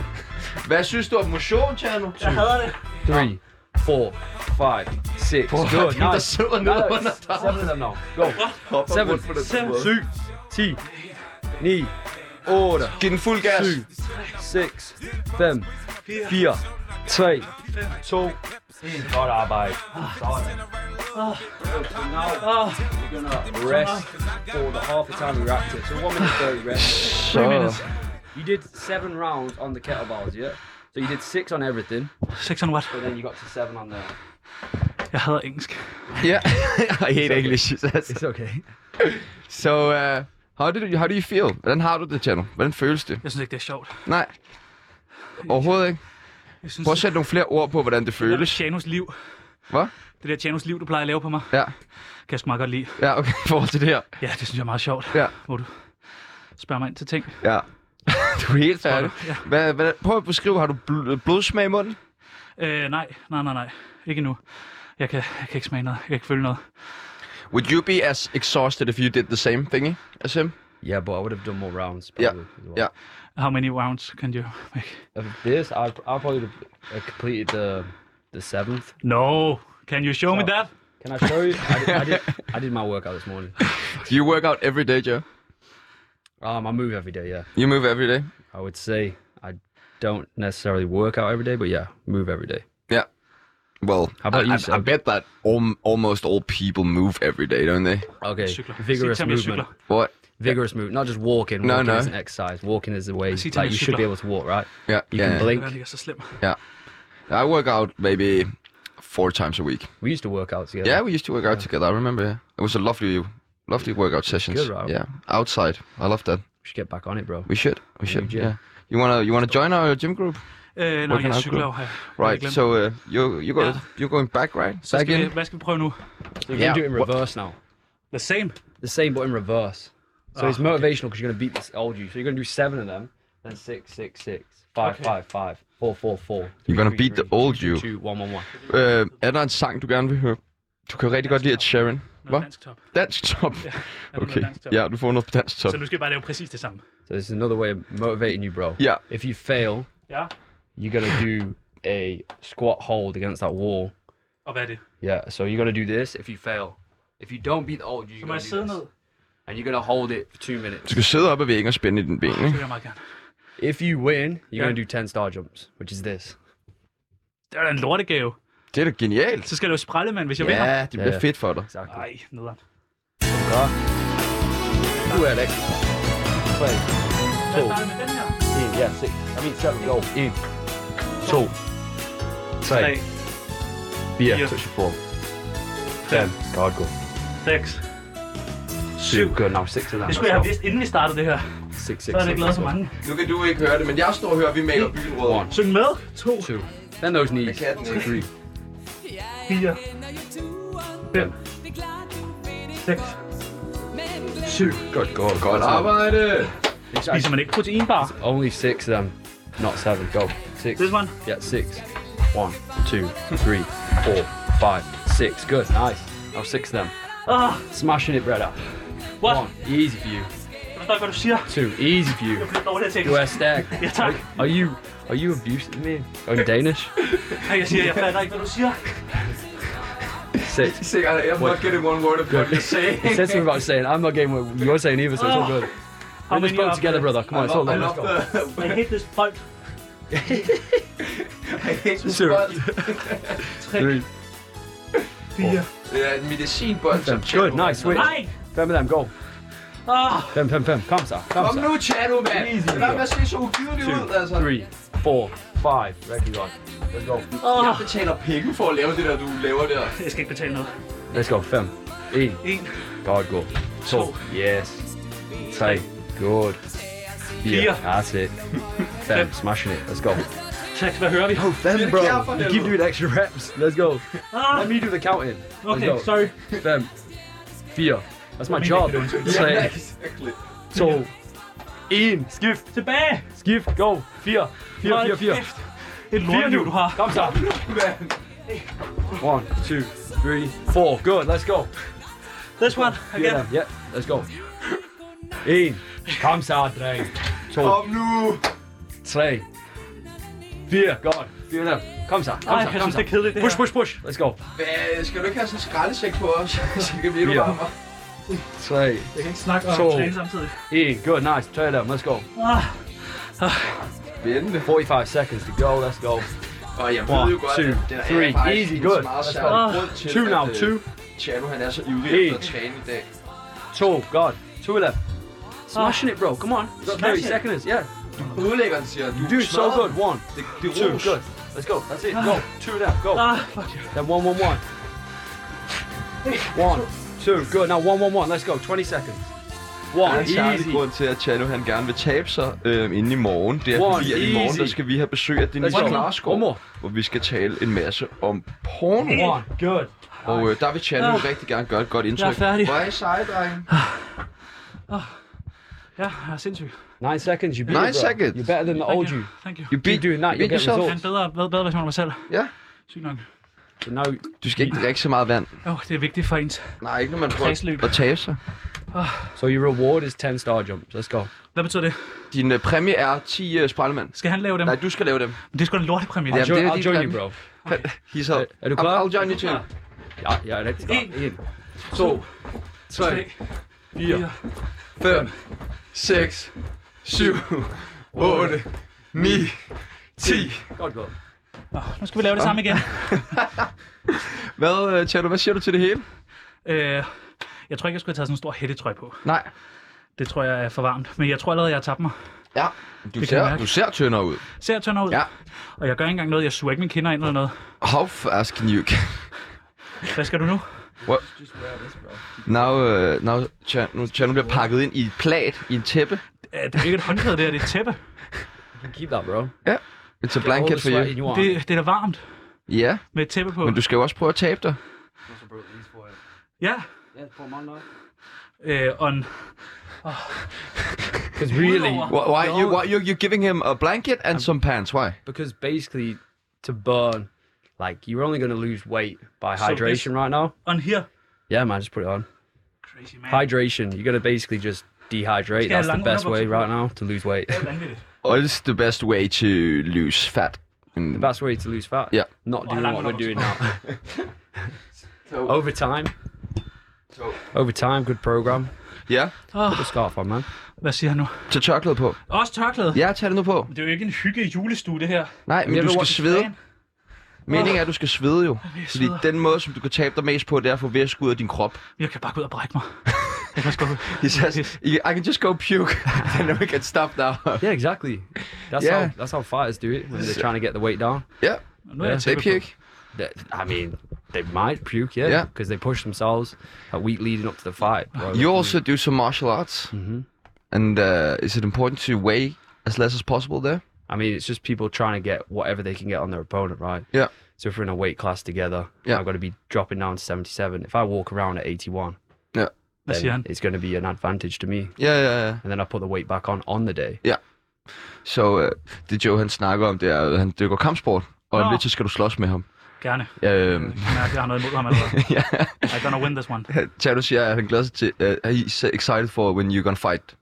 Speaker 1: Hvad synes du om motion, Chano?
Speaker 2: Jeg hader det.
Speaker 9: Three, four, five, six. Good.
Speaker 1: der
Speaker 9: Nice.
Speaker 1: sidder nede under dig.
Speaker 9: Seven of them now. Go.
Speaker 1: Hopper
Speaker 9: Seven.
Speaker 1: rundt på den
Speaker 2: Seven.
Speaker 1: måde.
Speaker 9: Syv, ti, ni, otte,
Speaker 1: Giv den fuld gas.
Speaker 9: syv, seks, fem, fire, tre, to, en. Godt arbejde. Sådan.
Speaker 2: Åh,
Speaker 9: Ah. Rest for the half the time we were active. So one minute thirty rest.
Speaker 2: tre minutes.
Speaker 9: You did seven rounds on the kettlebells, yeah. So you did six on everything,
Speaker 2: 600 watt.
Speaker 9: but then you got to seven on the.
Speaker 2: Jeg hader engelsk.
Speaker 3: Ja. I hate English.
Speaker 9: It's okay.
Speaker 3: So, uh, how do, you, how do you feel? Hvordan har du det, Chano? Hvordan føles det?
Speaker 2: Jeg synes ikke, det er sjovt.
Speaker 3: Nej. Overhovedet ikke.
Speaker 2: Jeg synes,
Speaker 3: Prøv at sætte nogle flere ord på, hvordan det
Speaker 2: det der
Speaker 3: føles.
Speaker 2: Tjanos liv.
Speaker 3: Hvad?
Speaker 2: Det der Tjanos liv, du plejer at lave på mig,
Speaker 3: Ja,
Speaker 2: kan jeg sgu meget godt lide.
Speaker 3: ja okay. I forhold til det her.
Speaker 2: Ja, det synes jeg er meget sjovt,
Speaker 3: Ja.
Speaker 2: hvor du spørger mig ind til ting.
Speaker 3: Ja. du er helt
Speaker 2: Tror du?
Speaker 3: færdig. Hvad, hvad, prøv at beskrive, har du bl- blodsmag i munden?
Speaker 2: Øh, nej, nej, nej, nej. Ikke endnu. Jeg kan, jeg kan ikke smage noget. Jeg kan ikke føle noget.
Speaker 3: Would you be as exhausted if you did the same thingy as him?
Speaker 9: Yeah, but I would have done more rounds.
Speaker 3: Yeah,
Speaker 9: Probably, as well.
Speaker 3: yeah.
Speaker 2: How many rounds can you make?
Speaker 9: Of this, I I probably would have uh, completed the the seventh.
Speaker 2: No. Can you show me that?
Speaker 9: Can I show you? I did, I did, I did my workout this morning.
Speaker 3: Do you work out every day, Joe?
Speaker 9: Um, I move every day. Yeah,
Speaker 3: You move every day?
Speaker 9: I would say I don't necessarily work out every day, but yeah, move every day.
Speaker 3: Yeah. Well,
Speaker 9: How about
Speaker 3: I,
Speaker 9: you,
Speaker 3: I- I,
Speaker 9: Seb?
Speaker 3: bet that al- almost all people move every day, don't they?
Speaker 9: Okay,
Speaker 2: Cykler.
Speaker 9: vigorous
Speaker 2: Sig til ham, jeg
Speaker 9: movement.
Speaker 2: cykler.
Speaker 3: What?
Speaker 9: Vigorous movement, not just walking.
Speaker 3: No,
Speaker 9: Walking
Speaker 3: no.
Speaker 9: is an exercise. Walking is the way.
Speaker 2: Sig til ham, jeg
Speaker 9: Like you should be
Speaker 2: cykler.
Speaker 9: able to walk, right?
Speaker 3: Yeah,
Speaker 9: You
Speaker 3: yeah.
Speaker 9: can blink.
Speaker 2: Jeg ligger så slem.
Speaker 3: I work out maybe four times a week.
Speaker 9: We used to work out together.
Speaker 3: Yeah, we used to work out together. I remember. Yeah. It was a lovely, lovely workout sessions.
Speaker 9: good, right?
Speaker 3: Yeah, outside. I love that.
Speaker 9: we should get back on it, bro.
Speaker 3: We should. We should.
Speaker 9: gym.
Speaker 3: Yeah. You wanna you wanna join our gym group?
Speaker 2: Øh, nå,
Speaker 3: Working
Speaker 2: jeg
Speaker 3: out
Speaker 2: cykler jo.
Speaker 3: group.
Speaker 2: jeg- jeg
Speaker 3: Right,
Speaker 2: glemte.
Speaker 3: so uh, you, you go,
Speaker 2: Ja.
Speaker 3: you're going back, right?
Speaker 2: Så
Speaker 3: back
Speaker 2: skal vi,
Speaker 3: in?
Speaker 2: hvad skal vi prøve nu?
Speaker 9: So we're gonna do it in reverse now.
Speaker 2: The same.
Speaker 9: The same, but in reverse. So
Speaker 2: Ah,
Speaker 9: it's motivational because you're gonna beat this old you. So you're gonna do seven of them, then six, six, six, five, five, five, four, four, four.
Speaker 3: You're gonna beat the old you.
Speaker 9: Two, one, one, one.
Speaker 3: Øh, er der en sang, du gerne vil høre? Du kan rigtig godt lide at Sharon. Hvad?
Speaker 2: Dansk top.
Speaker 3: Dansk top.
Speaker 2: noget
Speaker 3: Okay,
Speaker 2: dansk top.
Speaker 3: ja, du får noget på dansk top.
Speaker 2: Så nu skal jeg bare lave præcis det samme.
Speaker 9: So this is another way of motivating you, bro.
Speaker 3: Yeah.
Speaker 9: If you fail,
Speaker 2: Ja.
Speaker 9: you're gonna do a squat hold against that wall.
Speaker 2: Og hvad er det?
Speaker 9: Yeah. So you're gonna do this if you fail. If you don't beat the old you, you're
Speaker 2: må
Speaker 9: gonna
Speaker 2: jeg
Speaker 9: do
Speaker 2: sidde
Speaker 9: this.
Speaker 2: ned.
Speaker 9: And you're gonna hold it for two
Speaker 3: Du
Speaker 9: minutes.
Speaker 3: skal sidde op ad væggen og spænde i den ben,
Speaker 2: Det
Speaker 3: ikke?
Speaker 2: vil jeg meget gerne.
Speaker 9: If you win, you're
Speaker 2: Yeah.
Speaker 9: gonna do ten star jumps, which is this.
Speaker 2: Det er da en lortegave.
Speaker 3: Det er da genialt.
Speaker 2: Så skal jeg lave sprællemand, hvis jeg vinder.
Speaker 3: Ja, det bliver
Speaker 9: Ja.
Speaker 3: fedt for dig.
Speaker 9: Exactly.
Speaker 2: Ej, nederen.
Speaker 9: Du er det. Play.
Speaker 2: Lad os starte med den her.
Speaker 9: En, ja, seks. I mean, seven, go. En, to,
Speaker 2: Tre,
Speaker 9: tre, fire,
Speaker 2: fire,
Speaker 9: touch four, fem, godt, gå.
Speaker 2: seks.
Speaker 9: Syv, godt, no, seks eller
Speaker 2: Det skulle jeg have vidst, inden vi startede det her.
Speaker 9: Seks,
Speaker 2: Så
Speaker 9: seks,
Speaker 2: havde det ikke lavet så mange.
Speaker 3: Nu kan du ikke høre det, men jeg står og hører, at vi maler byen rød.
Speaker 2: Syng med. To,
Speaker 9: Two. Bend those knees.
Speaker 3: kan den ikke.
Speaker 9: Three.
Speaker 2: fire, fem, seks, syv.
Speaker 9: Godt, godt,
Speaker 3: Godt arbejde!
Speaker 2: Spiser man ikke proteinbar?
Speaker 9: Only six of them, not seven. Go. Six.
Speaker 2: This one?
Speaker 9: Yeah, six. One, two, three, four, five, six. Good, nice. Now six of them.
Speaker 2: Ah,
Speaker 9: Smashing it, brother.
Speaker 2: what?
Speaker 9: One, easy for you.
Speaker 2: Jeg forstår ikke, hvad du siger.
Speaker 9: Two, easy for you.
Speaker 2: Det er dårligt at tænke.
Speaker 9: You are stacked.
Speaker 2: Ja, tak.
Speaker 9: Are you, are you abusing me? Are you Danish?
Speaker 2: Ej, jeg siger, jeg fatter ikke, hvad du siger.
Speaker 9: Six.
Speaker 3: Sikkert, jeg må ikke det one word of what you're saying.
Speaker 9: It says something about saying, I'm not getting what you're saying either, so it's all good. We're in this
Speaker 2: Oh. many
Speaker 9: boat
Speaker 2: are
Speaker 9: together,
Speaker 2: there?
Speaker 9: brother. Come on, it's all good. Let's go.
Speaker 2: øh, I hate this bolt.
Speaker 9: Three.
Speaker 3: Det er en medicinbold, som
Speaker 9: Good, nice, sweet.
Speaker 2: Nej!
Speaker 9: Fem of them, go.
Speaker 2: Ah,
Speaker 9: Fem, fem, fem. Kom så, kom
Speaker 3: Kom
Speaker 9: så.
Speaker 3: nu, Chano, mand! Lad mig se så ugyrlig ud, altså.
Speaker 9: Three, four, five. Rigtig godt. Let's go.
Speaker 2: Ah.
Speaker 3: Jeg betaler penge for at lave det der, du laver der.
Speaker 2: jeg skal ikke betale noget.
Speaker 9: Let's go. Fem. E. En.
Speaker 2: En,
Speaker 9: Godt, gå. To. Yes. Tre. Good.
Speaker 2: Fire.
Speaker 9: Fire. That's it. Fem. Smashing it. Let's go.
Speaker 2: seks, hvad hører vi?
Speaker 9: Fem, bro. You keep
Speaker 3: helvede.
Speaker 9: doing extra reps. Let's go.
Speaker 2: Ah,
Speaker 9: Let me do the counting. Let's
Speaker 2: okay,
Speaker 9: go.
Speaker 2: sorry.
Speaker 9: Fem. Fire. That's my job. Tre. To. En. Skift.
Speaker 2: Tilbage!
Speaker 9: Skift. Go. Fire. Fire,
Speaker 2: Hold
Speaker 9: fire, fire.
Speaker 2: kæft. Et lorteliv, du har.
Speaker 9: Kom så. One, two, three, four. Good. Let's go.
Speaker 2: This one,
Speaker 9: Fire
Speaker 2: again.
Speaker 9: af dem. Ja, let's go. En. Kom så, dreng. To.
Speaker 3: Kom nu!
Speaker 9: Tre. Fire. Godt. Fire af dem. Kom så. Kom
Speaker 2: Ej,
Speaker 9: så.
Speaker 2: jeg
Speaker 9: Kom
Speaker 2: synes,
Speaker 9: så.
Speaker 2: det er kedeligt, det
Speaker 9: Push,
Speaker 2: her.
Speaker 9: push, push. Let's go.
Speaker 3: Hvad, skal du ikke have sådan en skraldesæk på os? Så kan vi endnu
Speaker 9: Ja.
Speaker 3: varmere.
Speaker 9: Tre.
Speaker 2: Jeg kan ikke snakke og
Speaker 9: To.
Speaker 2: træne samtidig.
Speaker 9: En. Good. Nice. Tre af dem. Let's go.
Speaker 2: Ah,
Speaker 3: Spændende.
Speaker 9: 45 seconds to go. Let's go.
Speaker 3: Og jeg ved
Speaker 9: One,
Speaker 3: jo godt,
Speaker 9: two,
Speaker 3: at der
Speaker 9: three.
Speaker 3: er faktisk
Speaker 9: Easy.
Speaker 3: en
Speaker 9: Good.
Speaker 3: meget
Speaker 9: Let's
Speaker 3: særlig
Speaker 9: go.
Speaker 2: Ah.
Speaker 3: grund til,
Speaker 9: Two
Speaker 3: at,
Speaker 9: now.
Speaker 3: øh,
Speaker 9: Two.
Speaker 3: Chano, han er så ivrig efter
Speaker 9: En.
Speaker 3: at træne i dag.
Speaker 9: Two. God. Two of them.
Speaker 2: Ah.
Speaker 9: Smashing it, bro. Come on. You got 30
Speaker 2: Smash it.
Speaker 9: seconds. Yeah.
Speaker 3: Du ødelægger den, siger han.
Speaker 9: You
Speaker 3: du.
Speaker 9: do so
Speaker 3: smadrer
Speaker 9: good. One,
Speaker 3: Det, det er
Speaker 9: two.
Speaker 3: ros.
Speaker 9: Good. Let's go. That's it. Go. Two of them. Go.
Speaker 2: ah, fuck yeah.
Speaker 9: Then one, one, one. One, two, good. Now one, one, one. Let's go. 20 seconds.
Speaker 3: Der er
Speaker 9: One,
Speaker 3: en særlig
Speaker 9: easy.
Speaker 3: grund til, at Chano han gerne vil tabe sig øh, inden i morgen. Det er
Speaker 9: One,
Speaker 3: fordi, at i morgen
Speaker 9: easy.
Speaker 3: der skal vi have besøg af Denise
Speaker 9: Let's go.
Speaker 3: Klarskov,
Speaker 9: One more.
Speaker 3: hvor vi skal tale en masse om porno.
Speaker 9: One, good.
Speaker 3: Og øh, der vil Chano
Speaker 2: Ah.
Speaker 3: rigtig gerne gøre et godt indtryk.
Speaker 2: færdig.
Speaker 3: Hvor er I seje, drenge?
Speaker 2: Ja, jeg er sindssyg.
Speaker 9: Nine seconds. You beat
Speaker 3: Nine
Speaker 9: it, bro.
Speaker 3: seconds.
Speaker 9: You're better than the
Speaker 2: Thank
Speaker 9: old
Speaker 2: you.
Speaker 9: you.
Speaker 2: Thank you.
Speaker 3: You
Speaker 9: Keep doing that.
Speaker 3: you
Speaker 9: You'll
Speaker 3: beat
Speaker 9: get
Speaker 3: yourself.
Speaker 2: Jeg er
Speaker 9: results.
Speaker 2: en bedre, bedre, bedre version af mig selv.
Speaker 3: Ja.
Speaker 2: Sygt nok.
Speaker 9: So now,
Speaker 3: Du skal ikke drikke så meget vand.
Speaker 2: Åh, oh, det er vigtigt for ens.
Speaker 3: Nej, ikke når man
Speaker 2: Kredsløb.
Speaker 3: prøver at tabe sig.
Speaker 9: so your reward is 10 star jumps. Let's go.
Speaker 2: Hvad betyder det?
Speaker 3: Din øh, præmie er 10 uh, spejlemænd.
Speaker 2: Skal han lave dem?
Speaker 3: Nej, du skal lave dem.
Speaker 2: Men Det er sgu da en lortepræmie.
Speaker 9: I'll,
Speaker 2: Ja.
Speaker 3: Jamen, det
Speaker 9: join,
Speaker 3: er
Speaker 9: I'll
Speaker 3: din
Speaker 9: join you,
Speaker 3: plan.
Speaker 9: bro.
Speaker 3: He's up.
Speaker 9: Er du
Speaker 3: I'm-
Speaker 9: klar?
Speaker 3: I'll join you too.
Speaker 9: Ja, ja, let's go. In.
Speaker 3: To,
Speaker 2: Tre, fire,
Speaker 3: 5, 6, 7, 8, 9, 10.
Speaker 9: Godt gået.
Speaker 2: Nu skal vi lave det samme igen.
Speaker 3: Hvad, øh, Tjerno, hvad siger du til det hele?
Speaker 2: Øh, jeg tror ikke, jeg skulle have taget sådan en stor hættetrøje på.
Speaker 3: Nej.
Speaker 2: Det tror jeg er for varmt. Men jeg tror allerede, jeg har tabt mig.
Speaker 3: Ja, du
Speaker 2: jeg
Speaker 3: ser,
Speaker 2: mærke.
Speaker 3: du ser tyndere ud.
Speaker 2: Ser jeg tyndere ud?
Speaker 3: Ja.
Speaker 2: Og jeg gør ikke engang noget. Jeg suger ikke mine kinder ind eller noget.
Speaker 3: How fast can you...
Speaker 2: Hvad skal du nu?
Speaker 3: Now, uh, now Tjerno, Tjerno bliver pakket ind i et plat, i en tæppe.
Speaker 2: Øh, Det er ikke et håndklæde, det her. Det er et tæppe.
Speaker 9: You can keep that, bro.
Speaker 3: It's a blanket for you.
Speaker 2: Det, det er da varmt
Speaker 3: Ja,
Speaker 2: med et tæppe på.
Speaker 3: men du skal jo også prøve at tabe dig.
Speaker 2: Ja.
Speaker 9: Yeah, for Monday.
Speaker 2: Øh, on.
Speaker 9: Because really,
Speaker 3: Why, why, you, why you, you're giving him a blanket and some pants? Why?
Speaker 9: because basically, to burn, like you're only going to lose weight by
Speaker 2: So this-
Speaker 9: hydration right now.
Speaker 2: On here.
Speaker 9: Yeah, man, just put it on.
Speaker 2: Crazy
Speaker 9: Hydration. You're going to basically just dehydrate.
Speaker 2: Yeah,
Speaker 9: That's the
Speaker 2: lang
Speaker 9: best way
Speaker 2: underbukser på.
Speaker 9: right now to lose weight.
Speaker 2: Det er vanvittigt.
Speaker 3: What's the best way to lose fat?
Speaker 9: the
Speaker 3: Mm.
Speaker 9: best way to lose fat.
Speaker 3: Yeah.
Speaker 9: Not
Speaker 2: Oh,
Speaker 9: doing
Speaker 2: lang
Speaker 9: what we're doing
Speaker 2: underbukser.
Speaker 9: now. Over time.
Speaker 3: So-
Speaker 9: Over time, good program.
Speaker 3: Ja,
Speaker 9: Put the scarf on, man.
Speaker 2: Hvad siger han nu?
Speaker 3: tag tørklæde på.
Speaker 2: Også tørklæde.
Speaker 3: Ja, tag det nu på.
Speaker 2: Det er jo ikke en hygge julestue, det her.
Speaker 3: Nej, men
Speaker 2: Jeg
Speaker 3: du
Speaker 2: ved,
Speaker 3: skal
Speaker 2: what the
Speaker 3: svede.
Speaker 2: fan.
Speaker 3: Meningen er, at du skal svede jo. Fordi
Speaker 2: sveder.
Speaker 3: den måde, som du kan tabe dig mest på, det er at få væske ud af din krop.
Speaker 2: Jeg kan bare gå ud og brække mig. Jeg kan også gå ud.
Speaker 3: He says, I can just go puke, and then we can stop now.
Speaker 9: Yeah, exactly. That's
Speaker 3: Yeah.
Speaker 9: how that's how fighters do it when they're trying to get the weight down.
Speaker 3: Ja,
Speaker 2: Nu er
Speaker 3: they
Speaker 2: jeg tæppe på.
Speaker 3: puke.
Speaker 9: That- I mean, they might puke,
Speaker 3: Yeah.
Speaker 9: yeah, because they push themselves a week leading up to the fight. Bro.
Speaker 3: You also do some martial arts.
Speaker 9: Mhm.
Speaker 3: And uh, is it important to weigh as less as possible there?
Speaker 9: I mean, it's just people trying to get whatever they can get on their opponent, right?
Speaker 3: Yeah.
Speaker 9: So if we're in a weight class together,
Speaker 3: Yeah.
Speaker 9: I'm going to be dropping down to 77. If I walk around at 81,
Speaker 3: Yeah.
Speaker 2: Hvad siger han?
Speaker 9: then it's going to be an advantage to me.
Speaker 3: Ja, ja, ja.
Speaker 9: And then I put the weight back on on the day.
Speaker 3: Så øh, det Joe, han snakker om, det er, at han dykker kampsport. Og om
Speaker 2: Nå.
Speaker 3: lidt, så skal du slås med ham.
Speaker 2: Gerne.
Speaker 3: Øhm,
Speaker 2: Jeg mærker, jeg har noget imod ham allerede.
Speaker 3: ja.
Speaker 2: I'm gonna win this one.
Speaker 3: Tadu siger, at han glæder sig til, uh, he's excited for when you're gonna fight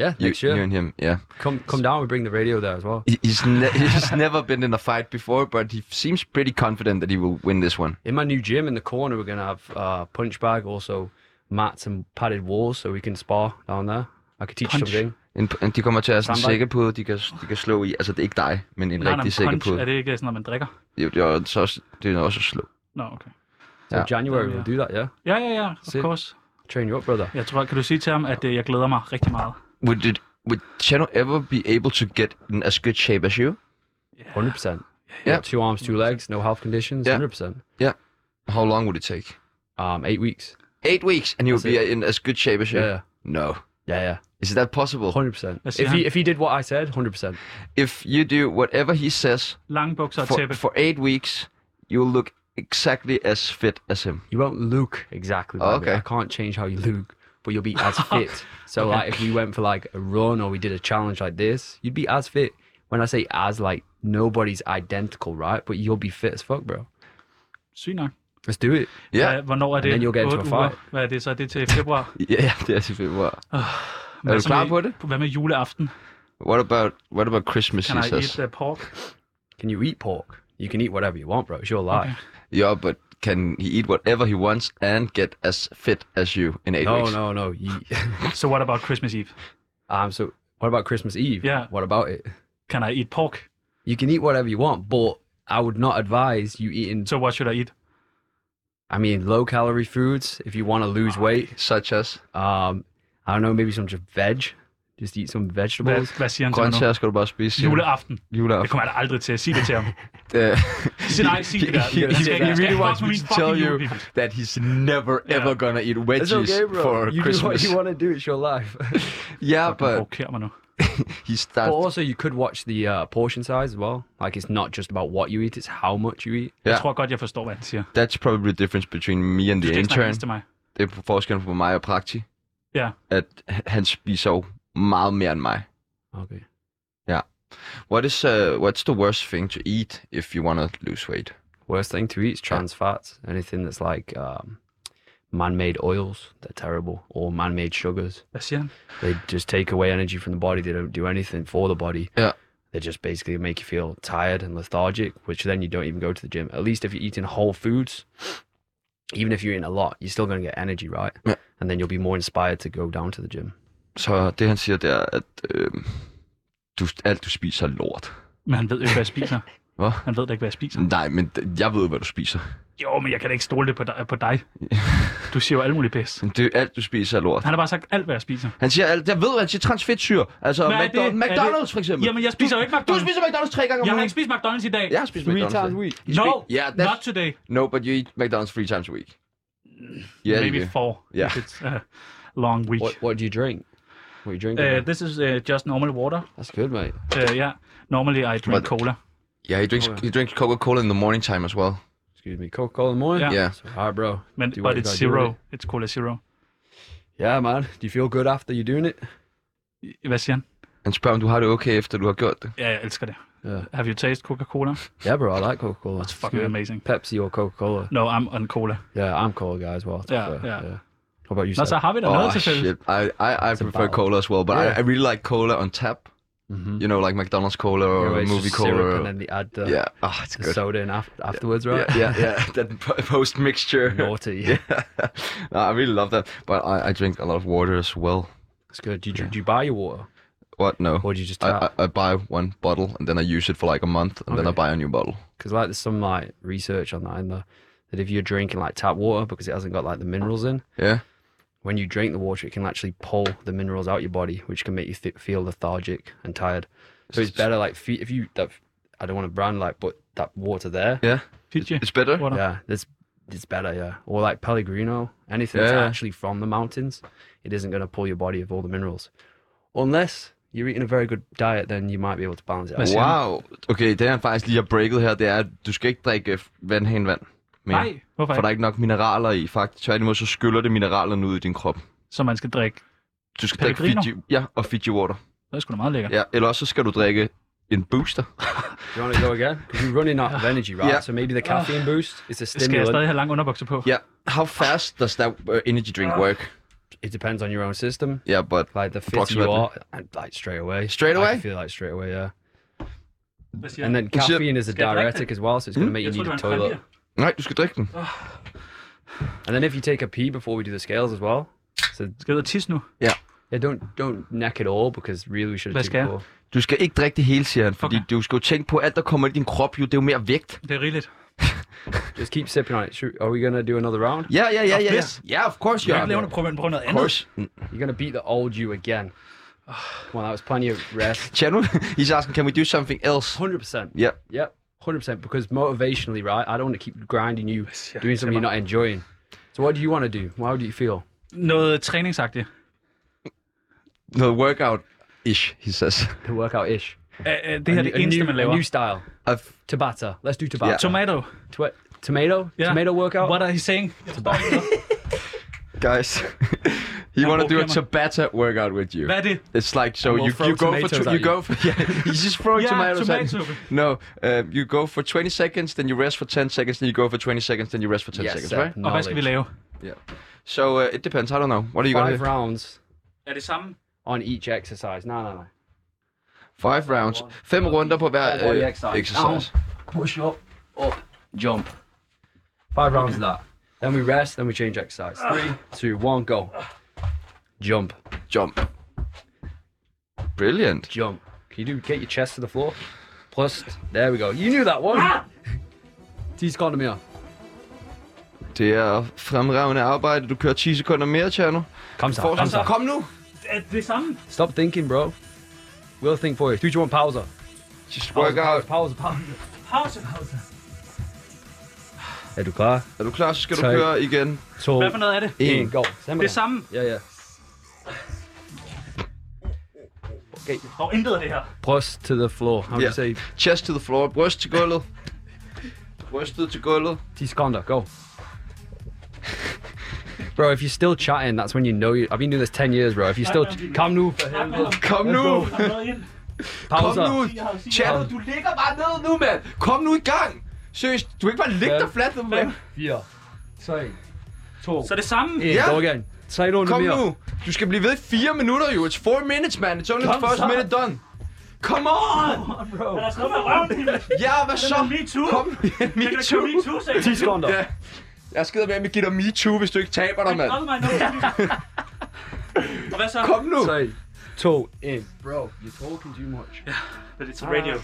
Speaker 9: Yeah,
Speaker 3: you,
Speaker 9: next year.
Speaker 3: you and him. Yeah.
Speaker 9: Come come down. We bring the radio there as well.
Speaker 3: He- He's, ne- he's never been in a fight before, but he seems pretty confident that he will win this one.
Speaker 9: In my new gym in the corner, we're going to have uh, punch bag, also mats and padded walls, so we can spar down there. I could teach
Speaker 2: Punch.
Speaker 9: something.
Speaker 3: En, en, de kommer til at have sådan en
Speaker 9: Samba.
Speaker 3: sikker på, de kan, de kan slå i. Altså, det er ikke dig, men en
Speaker 2: Nej, nej,
Speaker 3: rigtig sikker
Speaker 2: punch.
Speaker 3: på.
Speaker 2: Er det ikke sådan noget, man drikker?
Speaker 3: Jo, jo, så også, det er også at slå.
Speaker 2: Nå, okay.
Speaker 9: So
Speaker 3: Yeah.
Speaker 9: January,
Speaker 2: Yeah.
Speaker 9: we'll do that. Yeah.
Speaker 2: Ja, ja, ja. Of
Speaker 9: Se.
Speaker 2: course.
Speaker 9: Train you up, brother.
Speaker 2: Jeg tror, kan du sige til ham, at øh, jeg glæder mig rigtig meget?
Speaker 3: Would, it, would Chano ever be able to get in as good shape as you?
Speaker 9: Hundred percent.
Speaker 3: Yeah.
Speaker 9: Yeah. Two arms, two legs, no health conditions.
Speaker 3: Yeah.
Speaker 9: Hundred percent.
Speaker 3: How long would it take?
Speaker 9: Um, eight weeks.
Speaker 3: Eight weeks, and you would be
Speaker 9: That's
Speaker 2: Altså-
Speaker 3: in as good shape as you?
Speaker 9: Yeah.
Speaker 3: No.
Speaker 9: Yeah,
Speaker 3: Is that
Speaker 9: yeah.
Speaker 3: possible?
Speaker 9: Hundred percent.
Speaker 2: Let's see
Speaker 9: If
Speaker 2: how-
Speaker 9: he if he did what I said, hundred percent.
Speaker 3: If you do whatever he says
Speaker 2: Lange bukser og
Speaker 3: for,
Speaker 2: tæppe.
Speaker 3: for eight weeks, you will look exactly as fit as him.
Speaker 9: You won't look exactly like
Speaker 3: Okay.
Speaker 9: me. I can't change how you look, but you'll be as fit. So like if we went for like a run or we did a challenge like this, you'd be as fit. When I say as like nobody's identical, right? But you'll be fit as fuck, bro.
Speaker 2: Sygt nok.
Speaker 9: Let's do it.
Speaker 3: Ja.
Speaker 2: Hvad- Hvornår er
Speaker 9: And
Speaker 2: det?
Speaker 9: then you'll get into
Speaker 2: Otte
Speaker 9: a
Speaker 2: uger?
Speaker 9: fight.
Speaker 2: Hvad er det så? Er det til februar?
Speaker 3: Ja, det er selvfølgelig wow.
Speaker 2: Hvad
Speaker 3: du
Speaker 2: så
Speaker 3: klar
Speaker 2: med-
Speaker 3: på det?
Speaker 2: Hvad med juleaften?
Speaker 3: What about what about Christmas?
Speaker 2: Kan
Speaker 3: He
Speaker 2: I
Speaker 3: says.
Speaker 2: eat uh, pork?
Speaker 9: Can you eat pork? You can eat whatever you want, bro. It's your life.
Speaker 3: Yeah, but can he eat whatever he wants and get as fit as you in eight
Speaker 9: No,
Speaker 3: weeks?
Speaker 9: no, no. You,
Speaker 2: So what about Christmas Eve?
Speaker 9: um. So what about Christmas Eve?
Speaker 2: Yeah.
Speaker 9: What about it?
Speaker 2: Can I eat pork?
Speaker 9: You can eat whatever you want, but I would not advise you eating.
Speaker 2: So what should I eat?
Speaker 9: I mean, low calorie foods if you want to lose weight.
Speaker 3: Such as
Speaker 9: Um, I don't know, maybe some just veg. Just eat some vegetables.
Speaker 2: Hvad, hvad siger han til mig nu?
Speaker 3: grøntsager skal du bare spise. siger du.
Speaker 2: Juleaften. Det
Speaker 3: Juleaften.
Speaker 2: kommer jeg da aldrig til at sige det til ham.
Speaker 3: Uh,
Speaker 2: Sig nej, sig det der.
Speaker 3: he, he,
Speaker 2: Jeg skal
Speaker 3: he
Speaker 2: ikke- jeg skal
Speaker 3: really
Speaker 2: ikke
Speaker 3: wants
Speaker 2: fuck med
Speaker 3: me
Speaker 2: min
Speaker 3: to tell
Speaker 2: fucking
Speaker 3: you
Speaker 2: julepynt.
Speaker 3: that he's never
Speaker 2: Ja.
Speaker 3: ever gonna eat wedges for
Speaker 9: you
Speaker 3: Christmas.
Speaker 9: do what you want to do. It's your life.
Speaker 3: Yeah,
Speaker 2: Du
Speaker 3: but
Speaker 2: provokerer mig nu.
Speaker 3: he
Speaker 9: but
Speaker 3: starts.
Speaker 9: also, you could watch the uh, portion size as well. Like, it's not just about what you eat; it's how much you eat.
Speaker 2: Jeg
Speaker 3: Ja.
Speaker 2: tror godt, jeg forstår, hvad han siger.
Speaker 3: That's probably the difference between me and
Speaker 2: Du
Speaker 3: the
Speaker 2: skal ikke snakke
Speaker 3: intern.
Speaker 2: ens til mig.
Speaker 3: Det er forskellen på mig og Prakti.
Speaker 2: Ja.
Speaker 3: At han spiser jo meget mere end mig.
Speaker 9: Okay.
Speaker 3: What is uh, what's the worst thing to eat if you want to lose weight?
Speaker 9: Worst thing to eat is trans fats. Anything that's like um, man-made oils, they're terrible, or man-made sugars.
Speaker 2: Hvad siger han?
Speaker 9: They just take away energy from the body. They don't do anything for the body.
Speaker 3: Yeah.
Speaker 9: They just basically make you feel tired and lethargic, which then you don't even go to the gym. At least if you're eating whole foods, even if you're eating a lot, you're still going to get energy, right?
Speaker 3: Yeah.
Speaker 9: And then you'll be more inspired to go down to the gym.
Speaker 3: Så det han siger, det er, at øh, du, alt du spiser er lort.
Speaker 2: Men han ved jo ikke, hvad jeg spiser.
Speaker 3: Hvad?
Speaker 2: Han ved da ikke, hvad jeg spiser.
Speaker 3: Nej, men d- jeg ved, hvad du spiser.
Speaker 2: Jo, men jeg kan da ikke stole det på dig. På dig. Du siger jo alt muligt pis.
Speaker 3: Men Det, alt du spiser er lort.
Speaker 2: Han har bare sagt alt, hvad jeg spiser.
Speaker 3: Han siger alt. Jeg ved, hvad han siger transfedtsyre. Altså
Speaker 2: Hvad er det?
Speaker 3: McDonald's,
Speaker 2: Er det-
Speaker 3: McDonald's for eksempel.
Speaker 2: Jamen, jeg spiser jo ikke
Speaker 3: Du
Speaker 2: McDonald's.
Speaker 3: spiser McDonald's tre gange om
Speaker 2: Jeg har
Speaker 3: ugen.
Speaker 2: ikke spist McDonald's i dag.
Speaker 3: Jeg har spist McDonald's.
Speaker 9: times a week.
Speaker 3: You
Speaker 2: No,
Speaker 3: speak- yeah, that's-
Speaker 2: not today.
Speaker 3: No, but you eat McDonald's three times a week. Yeah, you
Speaker 2: Maybe
Speaker 3: do.
Speaker 2: four.
Speaker 3: Yeah.
Speaker 2: If it's a long week.
Speaker 9: What What do you drink? What are you drinking?
Speaker 4: uh,
Speaker 2: Uh, this is uh, just normal water.
Speaker 9: That's good, mate.
Speaker 2: Uh, yeah. Normally I drink
Speaker 3: But-
Speaker 2: cola.
Speaker 3: Yeah, he drinks
Speaker 9: Oh, yeah.
Speaker 3: he drinks Coca Cola in the morning time as well.
Speaker 9: Excuse me, Coca Cola in the morning.
Speaker 3: Yeah.
Speaker 9: So, all right, bro.
Speaker 4: Men,
Speaker 9: Do what
Speaker 4: but
Speaker 9: you
Speaker 4: it's
Speaker 9: gotta do with
Speaker 4: zero. It's cola zero.
Speaker 9: it. Yeah, man. Do you feel good after you're doing it?
Speaker 4: Hvad siger han?
Speaker 3: Han spørger, om du har det okay, efter du har gjort det.
Speaker 4: Ja, jeg elsker det.
Speaker 9: Yeah.
Speaker 4: Have you tasted Coca-Cola?
Speaker 9: Yeah, bro. I like Coca Cola. It's
Speaker 4: fucking amazing.
Speaker 9: Pepsi or Coca Cola.
Speaker 4: No, I'm on cola.
Speaker 9: Yeah, I'm Cola guy as well.
Speaker 4: Yeah,
Speaker 9: so,
Speaker 4: yeah.
Speaker 9: How about you?
Speaker 4: Nå, så
Speaker 9: Seb?
Speaker 4: har vi da noget til fælles.
Speaker 3: shit. I, I, I prefer
Speaker 9: ballad.
Speaker 3: cola as well, but I, I really like cola on tap. You know, like McDonald's cola
Speaker 9: Yeah,
Speaker 3: Mm-hmm. or
Speaker 9: where it's
Speaker 3: movie
Speaker 9: just
Speaker 3: cola.
Speaker 9: syrup
Speaker 3: or-
Speaker 9: and then they add the,
Speaker 3: yeah, oh, it's
Speaker 9: the
Speaker 3: good.
Speaker 9: soda in af- afterwards, right?
Speaker 3: Yeah, yeah, yeah. that post mixture.
Speaker 9: Naughty.
Speaker 3: No, I really love that, but I, I drink a lot of water as well.
Speaker 9: It's good. Do you, do you buy your water?
Speaker 3: What? No.
Speaker 9: Or do you just
Speaker 3: I,
Speaker 9: tap?
Speaker 3: I, I buy one bottle and then I use it for like a month and then I
Speaker 9: Okay.
Speaker 3: buy a new bottle.
Speaker 9: Because like there's some like research on that in there that if you're drinking like tap water because it hasn't got like the minerals in,
Speaker 3: Yeah.
Speaker 9: when you drink the water, it can actually pull the minerals out your body, which can make you th- feel lethargic and tired. So it's better like fe- if you that I don't want to brand like, but that water there,
Speaker 3: Yeah.
Speaker 4: Fiji.
Speaker 3: It's better.
Speaker 4: Water.
Speaker 9: yeah, it's it's better, yeah. Or like Pellegrino, anything that's
Speaker 3: Yeah.
Speaker 9: actually from the mountains, it isn't going to pull your body of all the minerals, unless you're eating a very good diet, then you might be able to balance it. out.
Speaker 3: Wow. Okay, det han faktisk lige har breaket her, det er, at du skal ikke drikke øh, vandhæn vand. mere.
Speaker 4: Nej, hvorfor
Speaker 3: For der er
Speaker 4: ikke?
Speaker 3: ikke nok mineraler i. Faktisk tværtimod, så skyller det mineralerne ud i din krop.
Speaker 4: Så man skal drikke.
Speaker 3: Du skal drikke
Speaker 4: Pellegrino?
Speaker 3: Fiji, ja, og Fiji water.
Speaker 4: Det er sgu da meget lækkert.
Speaker 3: Ja, eller også så skal du drikke en booster.
Speaker 9: You want to go again? 'Cause you're running out of energy, right?
Speaker 3: Yeah. Ah.
Speaker 9: So maybe the caffeine boost is a
Speaker 4: Skal jeg stadig
Speaker 9: stimulant.
Speaker 4: have lang underbukser på?
Speaker 3: Yeah. How fast does that uh, energy drink work?
Speaker 9: It depends on your own system.
Speaker 3: Yeah, but
Speaker 9: Like the fit you
Speaker 3: Approximately.
Speaker 9: are, and like straight away.
Speaker 3: Straight
Speaker 9: I
Speaker 3: away?
Speaker 9: can feel like straight away, yeah.
Speaker 4: Hvad siger
Speaker 9: And
Speaker 4: han?
Speaker 9: then caffeine is a
Speaker 4: Get like
Speaker 9: diuretic
Speaker 4: that.
Speaker 9: as well,
Speaker 3: Hmm?
Speaker 9: so it's going to make you
Speaker 4: Jeg
Speaker 9: need
Speaker 4: tror, det
Speaker 9: a
Speaker 4: var en
Speaker 9: toilet.
Speaker 4: kranier.
Speaker 3: Nej, du skal drikke den.
Speaker 9: And then if you take a pee before we do the scales as well, so
Speaker 4: Skal jeg ud og tisse nu?
Speaker 9: yeah, don't don't neck it all because really we should
Speaker 4: Hvad
Speaker 9: have
Speaker 4: skal
Speaker 9: taken
Speaker 4: jeg?
Speaker 9: four.
Speaker 3: Du skal ikke drikke det hele, siger han, fordi
Speaker 4: Okay.
Speaker 3: du skal jo tænke på, at alt, der kommer i din krop, jo, det er jo mere vægt.
Speaker 4: Det er rigeligt.
Speaker 9: Just keep sipping on it. Should, are we gonna do another round?
Speaker 3: Ja, ja, ja,
Speaker 4: Nå,
Speaker 3: ja.
Speaker 4: pis.
Speaker 3: Ja, of course,
Speaker 4: Jeg
Speaker 3: ja.
Speaker 4: kan lave noget, prøve, prøve noget
Speaker 3: Of
Speaker 4: andet.
Speaker 3: course.
Speaker 9: You're gonna beat the old you again. Well, that was plenty of rest.
Speaker 3: Chanu, he's asking, can we do something else?
Speaker 9: Hundred percent.
Speaker 3: Yeah.
Speaker 9: Yep, hundred percent. Because motivationally, right? I don't want to keep grinding you,
Speaker 4: yeah,
Speaker 9: doing something you're not enjoying. So, what do you want to do? How do you feel?
Speaker 4: Noget træningsagtigt.
Speaker 3: Noget workout-ish, he says.
Speaker 9: The workout ish.
Speaker 4: Øh, øh, Det her er det
Speaker 9: new,
Speaker 4: eneste, man laver.
Speaker 9: A new style.
Speaker 3: I've,
Speaker 9: Tabata. Let's do Tabata.
Speaker 4: Tomato.
Speaker 9: Tw- tomato.
Speaker 4: Yeah.
Speaker 9: Tomato workout.
Speaker 4: What are he saying? Jeg forstår ikke noget.
Speaker 3: guys, he want to do a
Speaker 4: provokerer mig.
Speaker 3: Tabata workout with you.
Speaker 4: Hvad er det?
Speaker 3: It's like so
Speaker 9: And we'll
Speaker 3: you,
Speaker 9: throw
Speaker 3: you go for
Speaker 9: tomatoes
Speaker 3: tw-
Speaker 9: at
Speaker 3: you
Speaker 9: you.
Speaker 3: go for yeah he's just throwing
Speaker 4: Yeah,
Speaker 3: tomatoes at you.
Speaker 4: tomatoes.
Speaker 3: no uh, you go for 20 seconds then you rest for 10 seconds then you go for 20 seconds then you rest for 10
Speaker 9: Yes,
Speaker 3: seconds
Speaker 9: sir.
Speaker 3: right
Speaker 4: Og hvad skal vi
Speaker 9: Knowledge.
Speaker 4: lave?
Speaker 3: so uh, it depends I don't know what are you
Speaker 9: Five
Speaker 3: gonna do
Speaker 9: rounds
Speaker 4: Er det samme?
Speaker 9: on each exercise. No, no, no.
Speaker 3: five rounds fem runder på hver
Speaker 9: Body
Speaker 3: uh,
Speaker 9: exercise.
Speaker 3: exercise
Speaker 9: Push up, up, jump. Five rounds of that. Then we rest. Then we change exercise. Three, two, one, go. Jump,
Speaker 3: jump brilliant
Speaker 9: jump. Can you do? Get your chest to the floor. Plus, there we go. You knew that one. T's gone to me.
Speaker 3: det er fremragende arbejde du kører 10 sekunder mere Tjerno
Speaker 9: Come
Speaker 3: Fortsæt.
Speaker 9: on,
Speaker 3: kom nu
Speaker 4: Er det det samme?
Speaker 9: Stop thinking, bro. We'll think for you. Two, two, one, pause.
Speaker 3: just workout
Speaker 9: Pause, pause.
Speaker 4: Pause, pause.
Speaker 9: Er du klar?
Speaker 3: er du klar så skal du
Speaker 9: Tak.
Speaker 3: køre igen
Speaker 9: To,
Speaker 4: Hvad for noget er det?
Speaker 9: en, go. Stem
Speaker 4: Det er samme.
Speaker 9: Ja, ja.
Speaker 4: Og intet af det her.
Speaker 9: Press to the floor. How do
Speaker 3: Yeah.
Speaker 9: you say?
Speaker 3: chest to the floor bryst til gulvet brystet til gulvet
Speaker 9: Tisconda, go. Bro, if you're still chatting, that's when you know you. I've been doing this 10 years, bro. If you're still. Come nu.
Speaker 3: kom nu
Speaker 4: Der er noget ind.
Speaker 9: Pause.
Speaker 3: Kom nu! Channel, du ligger bare ned nu, mand! Kom nu i gang! Seriøst, du kan ikke bare ligge
Speaker 9: Fem.
Speaker 3: dig fladt, mand!
Speaker 9: Fire. Tre.
Speaker 4: Så er det samme.
Speaker 9: En.
Speaker 3: Ja.
Speaker 9: Go again. Tre runder
Speaker 3: Kom
Speaker 9: mere.
Speaker 3: nu! Du skal blive ved i fire minutter, jo! It's four minutes, man! It's only the first minute done! Come on!
Speaker 4: Er der sådan noget med røven?
Speaker 3: Ja, hvad så?
Speaker 4: Me too.
Speaker 3: Kom! Ja, me
Speaker 4: Jeg kan
Speaker 3: too!
Speaker 4: me too, sagde jeg.
Speaker 9: Tisconda.
Speaker 3: Ja. Jeg skider med, at vi giver dig me too, hvis du ikke taber dig, mand!
Speaker 4: Hold mig nu. Og hvad så?
Speaker 3: Kom nu!
Speaker 9: Tre. To. En. Bro, you're talking too much.
Speaker 4: Det er til radio.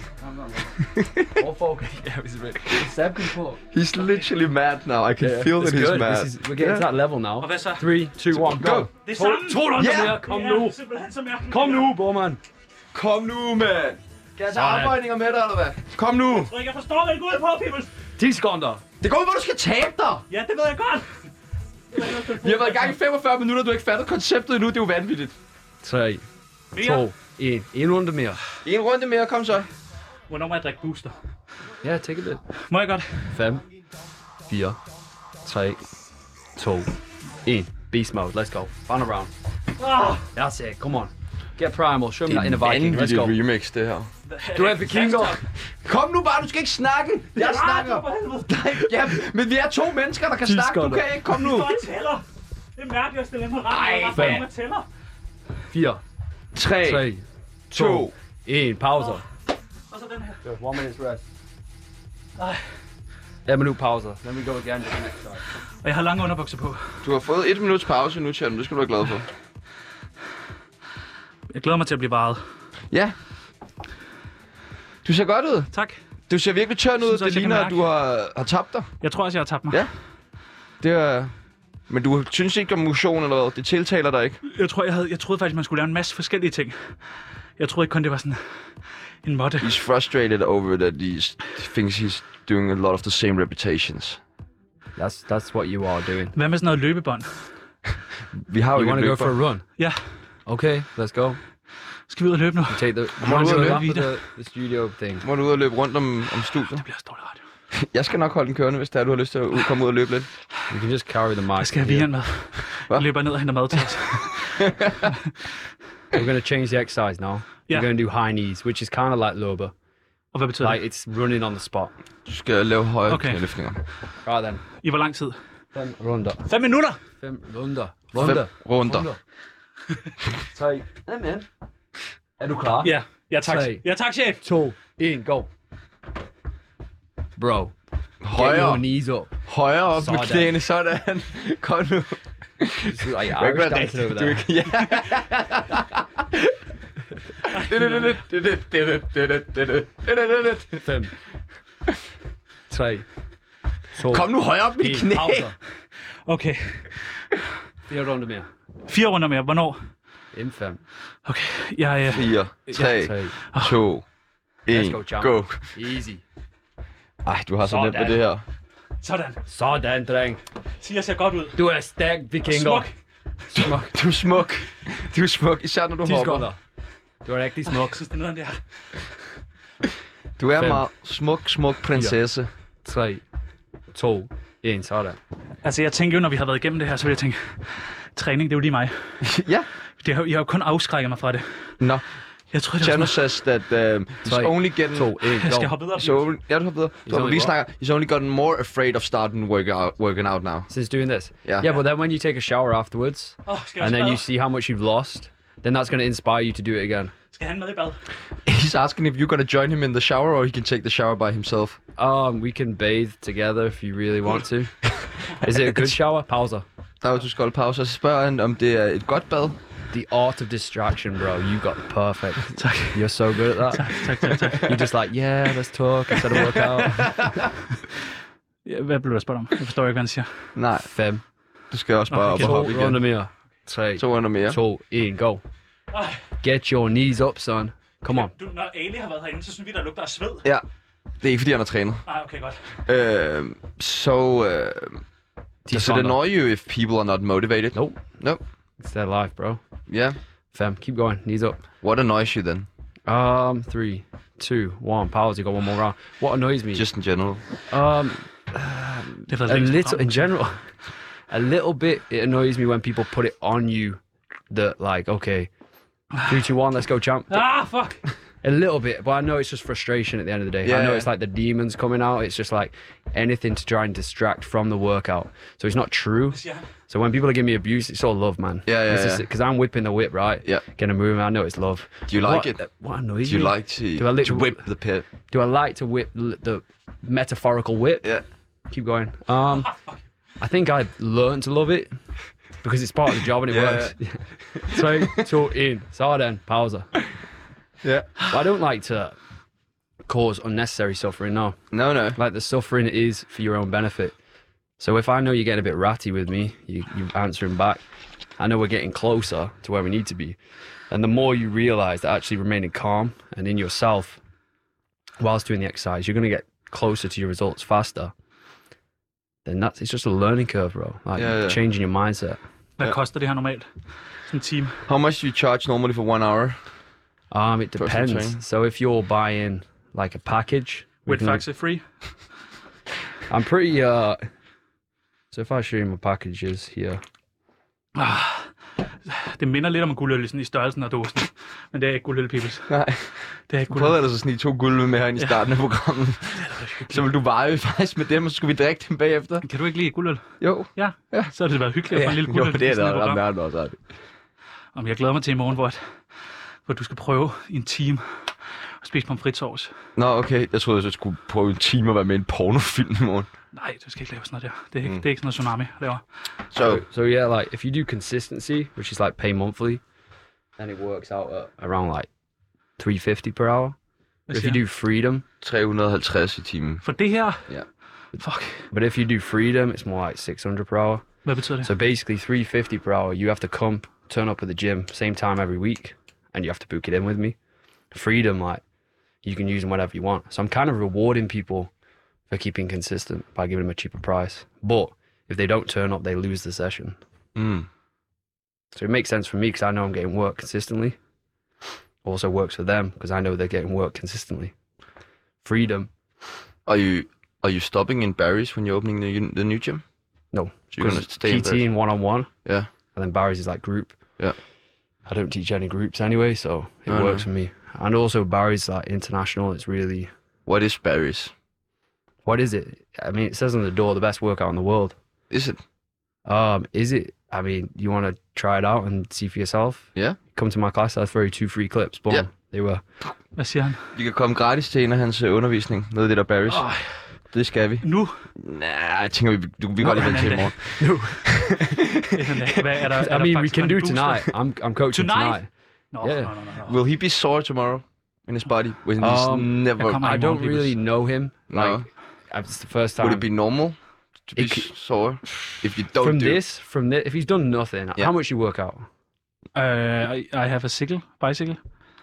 Speaker 9: More focus. yeah, it's ready. Seb can talk.
Speaker 3: He's literally mad now. I can
Speaker 9: Yeah.
Speaker 3: feel
Speaker 9: It's
Speaker 3: that he's
Speaker 9: good.
Speaker 3: mad.
Speaker 9: This is, we're getting to that level now.
Speaker 4: Og hvad så?
Speaker 9: Three, two, one, go.
Speaker 3: Go!
Speaker 4: Det er
Speaker 9: To,
Speaker 4: samme.
Speaker 9: to runder
Speaker 3: Ja.
Speaker 9: mere. Kom
Speaker 4: Det er
Speaker 9: nu.
Speaker 4: simpelthen så mærkeligt.
Speaker 9: Kom nu, brormand.
Speaker 3: Kom nu, mand! Skal jeg tage afbøjninger med dig, eller hvad? Kom nu!
Speaker 4: Så Jeg forstår det ikke ud på, Pibbles.
Speaker 9: Tisconda.
Speaker 3: Det går ud, hvor du skal tabe dig!
Speaker 4: Ja, det ved jeg godt.
Speaker 3: Vi har været i gang i 45 minutter, du har ikke fattet konceptet endnu. Det er jo vanvittigt.
Speaker 9: Tre.
Speaker 4: Mere.
Speaker 9: To. En. En runde mere.
Speaker 3: En runde mere, kom så.
Speaker 4: Hvornår må jeg drikke booster?
Speaker 9: Ja, take a bit.
Speaker 2: Må jeg godt?
Speaker 9: 5, 4, 3, 2, 1. Beast mode, let's go. Run around.
Speaker 2: Ah,
Speaker 9: That's it, come on. Get primal, show me
Speaker 3: Det er
Speaker 9: that in a
Speaker 3: en
Speaker 9: Viking, let's
Speaker 3: vanvittig
Speaker 9: go.
Speaker 3: remix, det her.
Speaker 9: Du er vikinger. Kom nu bare, du skal ikke snakke. Jeg snakker. Nej, ja, men vi er to mennesker, der kan
Speaker 2: De
Speaker 9: snakke. Du
Speaker 2: skotter.
Speaker 9: kan ikke komme nu.
Speaker 2: tæller. Det er mærkeligt at stille dem her
Speaker 9: Ej,
Speaker 2: ret.
Speaker 9: hvor fem. man
Speaker 2: tæller.
Speaker 9: 4,
Speaker 3: 3,
Speaker 9: 3, 2, 1. Pauser.
Speaker 2: Og så den her.
Speaker 9: One minute's rest. Ja, men nu pauser. Then we go again to the next time.
Speaker 2: Og jeg har lange underbukser på.
Speaker 3: Du har fået et minuts pause nu, Tjerno. Det skal du være glad for.
Speaker 2: Jeg glæder mig til at blive varet.
Speaker 3: Ja. Du ser godt ud.
Speaker 2: Tak.
Speaker 3: Du ser virkelig tørn ud.
Speaker 2: Synes også,
Speaker 3: Det
Speaker 2: jeg kan
Speaker 3: ligner, at
Speaker 2: mærke-
Speaker 3: du har, har tabt dig.
Speaker 2: Jeg tror også, jeg har tabt mig.
Speaker 3: Ja. Det er... Men du synes ikke om motion eller hvad? Det tiltaler dig ikke.
Speaker 2: Jeg, tror, jeg, havde, jeg troede faktisk, man skulle lave en masse forskellige ting. Jeg troede ikke kun, det var sådan en måtte.
Speaker 3: He's frustrated over that he s- thinks he's doing a lot of the same repetitions.
Speaker 9: That's, that's what you are doing.
Speaker 2: Hvad med sådan noget løbebånd?
Speaker 3: Vi har jo
Speaker 9: You
Speaker 3: ikke
Speaker 9: want
Speaker 3: et
Speaker 9: to go
Speaker 3: løbebånd.
Speaker 9: for a run?
Speaker 2: Ja,
Speaker 9: Okay, let's go.
Speaker 2: skal vi ud og løbe nu?
Speaker 9: You take the, you
Speaker 3: Må
Speaker 9: want
Speaker 3: du
Speaker 9: to
Speaker 3: ud
Speaker 9: go
Speaker 3: og
Speaker 9: down
Speaker 3: løbe,
Speaker 9: to the, the studio thing.
Speaker 3: Må du ud og løbe rundt om, om studiet?
Speaker 2: Det bliver også dårlig radio.
Speaker 3: Jeg skal nok holde den kørende, hvis der du har lyst til at ud- komme ud og løbe lidt.
Speaker 9: You can just carry the mic.
Speaker 2: Jeg skal have
Speaker 9: here.
Speaker 2: Vian med. Jeg løber ned og henter mad til os.
Speaker 9: We're going to change the exercise now.
Speaker 2: Yeah.
Speaker 9: We're going to do high knees, which is kind of like lower.
Speaker 2: Og hvad betyder
Speaker 9: Like
Speaker 2: det?
Speaker 9: it's running on the spot.
Speaker 3: Du skal lave høje
Speaker 2: Okay.
Speaker 3: okay. knæløftninger.
Speaker 9: Right then.
Speaker 2: I hvor lang tid?
Speaker 9: Fem runder.
Speaker 2: Fem minutter!
Speaker 9: Fem runder.
Speaker 3: Fem
Speaker 9: Runder.
Speaker 3: runder.
Speaker 9: Tre. Hey, man. Er du klar?
Speaker 2: Ja, ja tak.
Speaker 9: Tre.
Speaker 2: Ja tak, chef.
Speaker 9: To. En. Go. Bro. Get your
Speaker 3: Højere,
Speaker 9: knees up.
Speaker 3: højere op med
Speaker 9: Sådan.
Speaker 3: knæene, sådan. Kom nu.
Speaker 9: This is like
Speaker 3: Du kan
Speaker 9: Irish
Speaker 3: ikke være
Speaker 9: dancing over
Speaker 3: rigtig. Du
Speaker 9: there.
Speaker 3: kan- Ja.
Speaker 9: Fem. Tre. To.
Speaker 3: Kom nu højere op med
Speaker 9: en.
Speaker 3: de knæ.
Speaker 9: Pauser.
Speaker 2: Okay.
Speaker 9: Fire runder mere.
Speaker 2: Fire runder mere. Hvornår?
Speaker 9: Inden fem.
Speaker 2: Okay. Jeg, øh,
Speaker 3: 4, 3,
Speaker 9: Tre.
Speaker 3: 2,
Speaker 9: Let's go,
Speaker 3: 1,
Speaker 9: champ.
Speaker 3: go.
Speaker 9: Easy.
Speaker 3: Ej, du har så nemt med
Speaker 9: Sådan.
Speaker 3: det her.
Speaker 2: sådan.
Speaker 9: Sådan, dreng.
Speaker 2: Så jeg ser godt ud.
Speaker 9: Du er stærk vikinger.
Speaker 2: Smuk.
Speaker 9: Smuk.
Speaker 3: Du er smuk. Du er smuk, især når du
Speaker 9: De
Speaker 3: hopper.
Speaker 9: skotter. Du er rigtig smuk.
Speaker 2: Jeg synes, det er noget, det her.
Speaker 3: Du er
Speaker 9: Fem.
Speaker 3: meget smuk, smuk prinsesse.
Speaker 9: 3, 2, 1, sådan.
Speaker 2: Altså, jeg tænkte jo, når vi har været igennem det her, så ville jeg tænke, træning, det er jo lige mig.
Speaker 3: Ja.
Speaker 2: Det har, jeg har jo kun afskrækket mig fra det.
Speaker 3: Nå,
Speaker 2: Jeg tror, det var
Speaker 3: Chano
Speaker 2: sådan,
Speaker 3: says that um, he's
Speaker 9: Tre,
Speaker 3: only getting...
Speaker 9: 2, 1,
Speaker 2: jeg skal
Speaker 9: go.
Speaker 2: hoppe videre.
Speaker 3: So, ja, du har bedre. Du har,
Speaker 9: only
Speaker 3: vi
Speaker 9: what?
Speaker 3: snakker, he's only gotten more afraid of starting working out, working out now.
Speaker 9: Since doing this.
Speaker 3: Yeah.
Speaker 9: Yeah, but then when you take a shower afterwards,
Speaker 2: Åh, skal jeg
Speaker 9: and
Speaker 2: også
Speaker 9: then
Speaker 2: i
Speaker 9: you
Speaker 2: bad?
Speaker 9: see how much you've lost, then that's going to inspire you to do it again.
Speaker 2: Skal han med i bad?
Speaker 3: He's asking if you're gonna join him in the shower or he can take the shower by himself.
Speaker 9: Um, we can bathe together if you really want to. Is it a good shower? Pauser.
Speaker 3: Der er jo, du skal holde pause, og så spørger han, om det er et godt bad.
Speaker 9: The art of distraction, bro. You got the perfect. You're so good at that.
Speaker 2: Tak, tak, tak.
Speaker 9: You're just like, yeah, let's talk instead of work out.
Speaker 2: Ja, Hvad blev der spurgt om? Jeg forstår ikke, hvad han siger.
Speaker 3: Nej,
Speaker 9: Fem.
Speaker 3: du skal også bare
Speaker 2: Okay,
Speaker 3: op og
Speaker 9: To
Speaker 3: hoppe igen.
Speaker 9: runder mere. Tre.
Speaker 3: To runder mere.
Speaker 9: Two, Ian, go.
Speaker 2: Ej.
Speaker 9: Get your knees up, son. Come on.
Speaker 2: Du, når Ali har været herinde, så synes vi, der lugter af sved.
Speaker 3: Ja, det er ikke fordi, han har trænet.
Speaker 2: Nej, okay, godt.
Speaker 3: Øh, så... Øh, does it
Speaker 9: Tisander.
Speaker 3: annoy you if people are not motivated?
Speaker 9: Nope.
Speaker 3: No.
Speaker 9: It's their life, bro.
Speaker 3: Yeah.
Speaker 9: Fam, keep going. Knees up.
Speaker 3: What annoys you then?
Speaker 9: Um, three, two, one. Powers, you got one more round. What annoys me?
Speaker 3: Just in general.
Speaker 9: um,
Speaker 2: Det har
Speaker 9: a little in general. A little bit. It annoys me when people put it on you. That like, okay, three, two, one. Let's go, champ.
Speaker 2: Ah, fuck!
Speaker 9: A little bit, but I know it's just frustration at the end of the day.
Speaker 3: Yeah,
Speaker 9: I know
Speaker 3: yeah.
Speaker 9: it's like the demons coming out. It's just like anything to try and distract from the workout. So it's not true.
Speaker 2: siger han.
Speaker 9: So when people are giving me abuse, it's all love, man.
Speaker 3: Yeah, yeah, yeah.
Speaker 9: Because I'm whipping the whip, right?
Speaker 3: Yeah.
Speaker 9: Getting a move, I know it's love.
Speaker 3: Do you like
Speaker 9: What-
Speaker 3: it?
Speaker 9: What annoys
Speaker 3: Do you
Speaker 9: me?
Speaker 3: like to,
Speaker 9: Do I li-
Speaker 3: to whip the pit?
Speaker 9: Do I like to whip l- the metaphorical whip?
Speaker 3: Yeah.
Speaker 9: Keep going. Um, I think I learned to love it because it's part of the job and it
Speaker 3: Yeah,
Speaker 9: works. so, so in, so then, pausa.
Speaker 3: Yeah.
Speaker 9: But I don't like to cause unnecessary suffering. No,
Speaker 3: No, no.
Speaker 9: like the suffering is for your own benefit. So if I know you're getting a bit ratty with me, you, you're answering back. I know we're getting closer to where we need to be. And the more you realize that actually remaining calm and in yourself whilst doing the exercise, you're going to get closer to your results faster. Then that's it's just a learning curve, bro. Like
Speaker 3: Yeah, yeah.
Speaker 9: changing your mindset.
Speaker 2: Hvad koster det her normalt? Sådan en time.
Speaker 3: How much do you charge normally for one hour?
Speaker 9: Um, it
Speaker 3: Personal
Speaker 9: depends.
Speaker 3: training.
Speaker 9: So if you're buying like a package,
Speaker 2: With Faxe free?
Speaker 9: I'm pretty. uh So if I show you my packages here,
Speaker 2: Ah, det minder lidt om en guldøl sådan i størrelsen og dåsen. Men det er ikke guldøl, peoples.
Speaker 3: Nej.
Speaker 2: Det er ikke
Speaker 3: Prøv
Speaker 2: guldøl.
Speaker 3: ellers at snige to gulve med herinde i
Speaker 2: Ja.
Speaker 3: starten af programmet. så vil du veje faktisk med dem, og så skulle vi drikke dem bagefter.
Speaker 2: Kan du ikke lide guldøl?
Speaker 3: Jo.
Speaker 2: Ja. ja. Så har det været hyggeligt at få en lille
Speaker 3: jo,
Speaker 2: guldøl.
Speaker 3: det er
Speaker 2: i sådan et
Speaker 3: der, der,
Speaker 2: program.
Speaker 3: der, der, der, der.
Speaker 2: Om jeg glæder mig til i morgen, hvor, at- hvor du skal prøve i en time at spise pomfritsovs.
Speaker 3: Nå, okay. Jeg troede, jeg skulle prøve en time at være med i en pornofilm i morgen.
Speaker 2: Nej, du skal ikke lave sådan noget der. Det er ikke,
Speaker 9: Mm.
Speaker 2: mm. det er ikke sådan noget tsunami jeg laver.
Speaker 3: So,
Speaker 9: so yeah, like if you do consistency, which is like pay monthly, then it works out at around like 350 per hour.
Speaker 2: Hvad
Speaker 9: if you
Speaker 2: siger
Speaker 9: do freedom,
Speaker 3: 350 i timen.
Speaker 2: For det her,
Speaker 3: Ja.
Speaker 2: Fuck.
Speaker 9: But if you do freedom, it's more like 600 per hour.
Speaker 2: Hvad betyder det?
Speaker 9: So basically 350 per hour, you have to come, turn up at the gym same time every week, and you have to book it in with me. Freedom, like you can use them whatever you want. So I'm kind of rewarding people for keeping consistent by giving them a cheaper price. But if they don't turn up, they lose the session.
Speaker 3: Mm.
Speaker 9: So it makes sense for me because I know I'm getting work consistently. Also works for them because I know they're getting work consistently. Freedom.
Speaker 3: Are you are you stopping in Barry's when you're opening the, the new gym?
Speaker 9: No.
Speaker 3: So you're gonna
Speaker 9: 'Cause
Speaker 3: stay in
Speaker 9: PT
Speaker 3: Barry's?
Speaker 9: and one on one.
Speaker 3: Yeah.
Speaker 9: And then Barry's is like group.
Speaker 3: Yeah.
Speaker 9: I don't teach any groups anyway, so it
Speaker 3: No, no.
Speaker 9: works for me. And also Barry's like international. It's really.
Speaker 3: What is Barry's?
Speaker 9: What is it? I mean, it says on the door the best workout in the world.
Speaker 3: Is it?
Speaker 9: Um, is it? I mean, you want to try it out and see for yourself.
Speaker 3: Yeah.
Speaker 9: Come to my class. I throw you two free clips. Boom.
Speaker 3: Yeah.
Speaker 9: They were.
Speaker 2: Hvad siger han?
Speaker 3: Vi kan komme gratis til en af hans øh, undervisning. Noget af det der Barry's.
Speaker 2: Åh.
Speaker 3: Det skal vi.
Speaker 2: Nu?
Speaker 3: Nej, jeg tænker, vi, du, vi kan
Speaker 2: Nå,
Speaker 3: godt lige
Speaker 2: en
Speaker 3: vente til i
Speaker 2: anden
Speaker 3: morgen.
Speaker 2: Hvad er der, er
Speaker 9: I
Speaker 2: der
Speaker 9: mean, we
Speaker 2: faktisk
Speaker 9: can
Speaker 2: en
Speaker 9: do
Speaker 2: booster?
Speaker 9: tonight. I'm I'm coaching
Speaker 2: Tonight?
Speaker 9: tonight.
Speaker 2: Nå,
Speaker 9: Yeah.
Speaker 2: nå, nå, nå, nå.
Speaker 3: Will he be sore tomorrow in his body when he's
Speaker 9: Um,
Speaker 3: never?
Speaker 2: kommer
Speaker 9: I
Speaker 2: i
Speaker 9: don't
Speaker 2: morgen,
Speaker 9: really know him.
Speaker 3: No.
Speaker 9: Like, I- it's the first time.
Speaker 3: Would it be normal to be
Speaker 9: It c-
Speaker 3: sore if you don't
Speaker 9: from
Speaker 3: do
Speaker 9: this, from this, if he's done nothing,
Speaker 3: Yeah.
Speaker 9: how much you work out?
Speaker 2: Uh, I, I have a sickle, bicycle,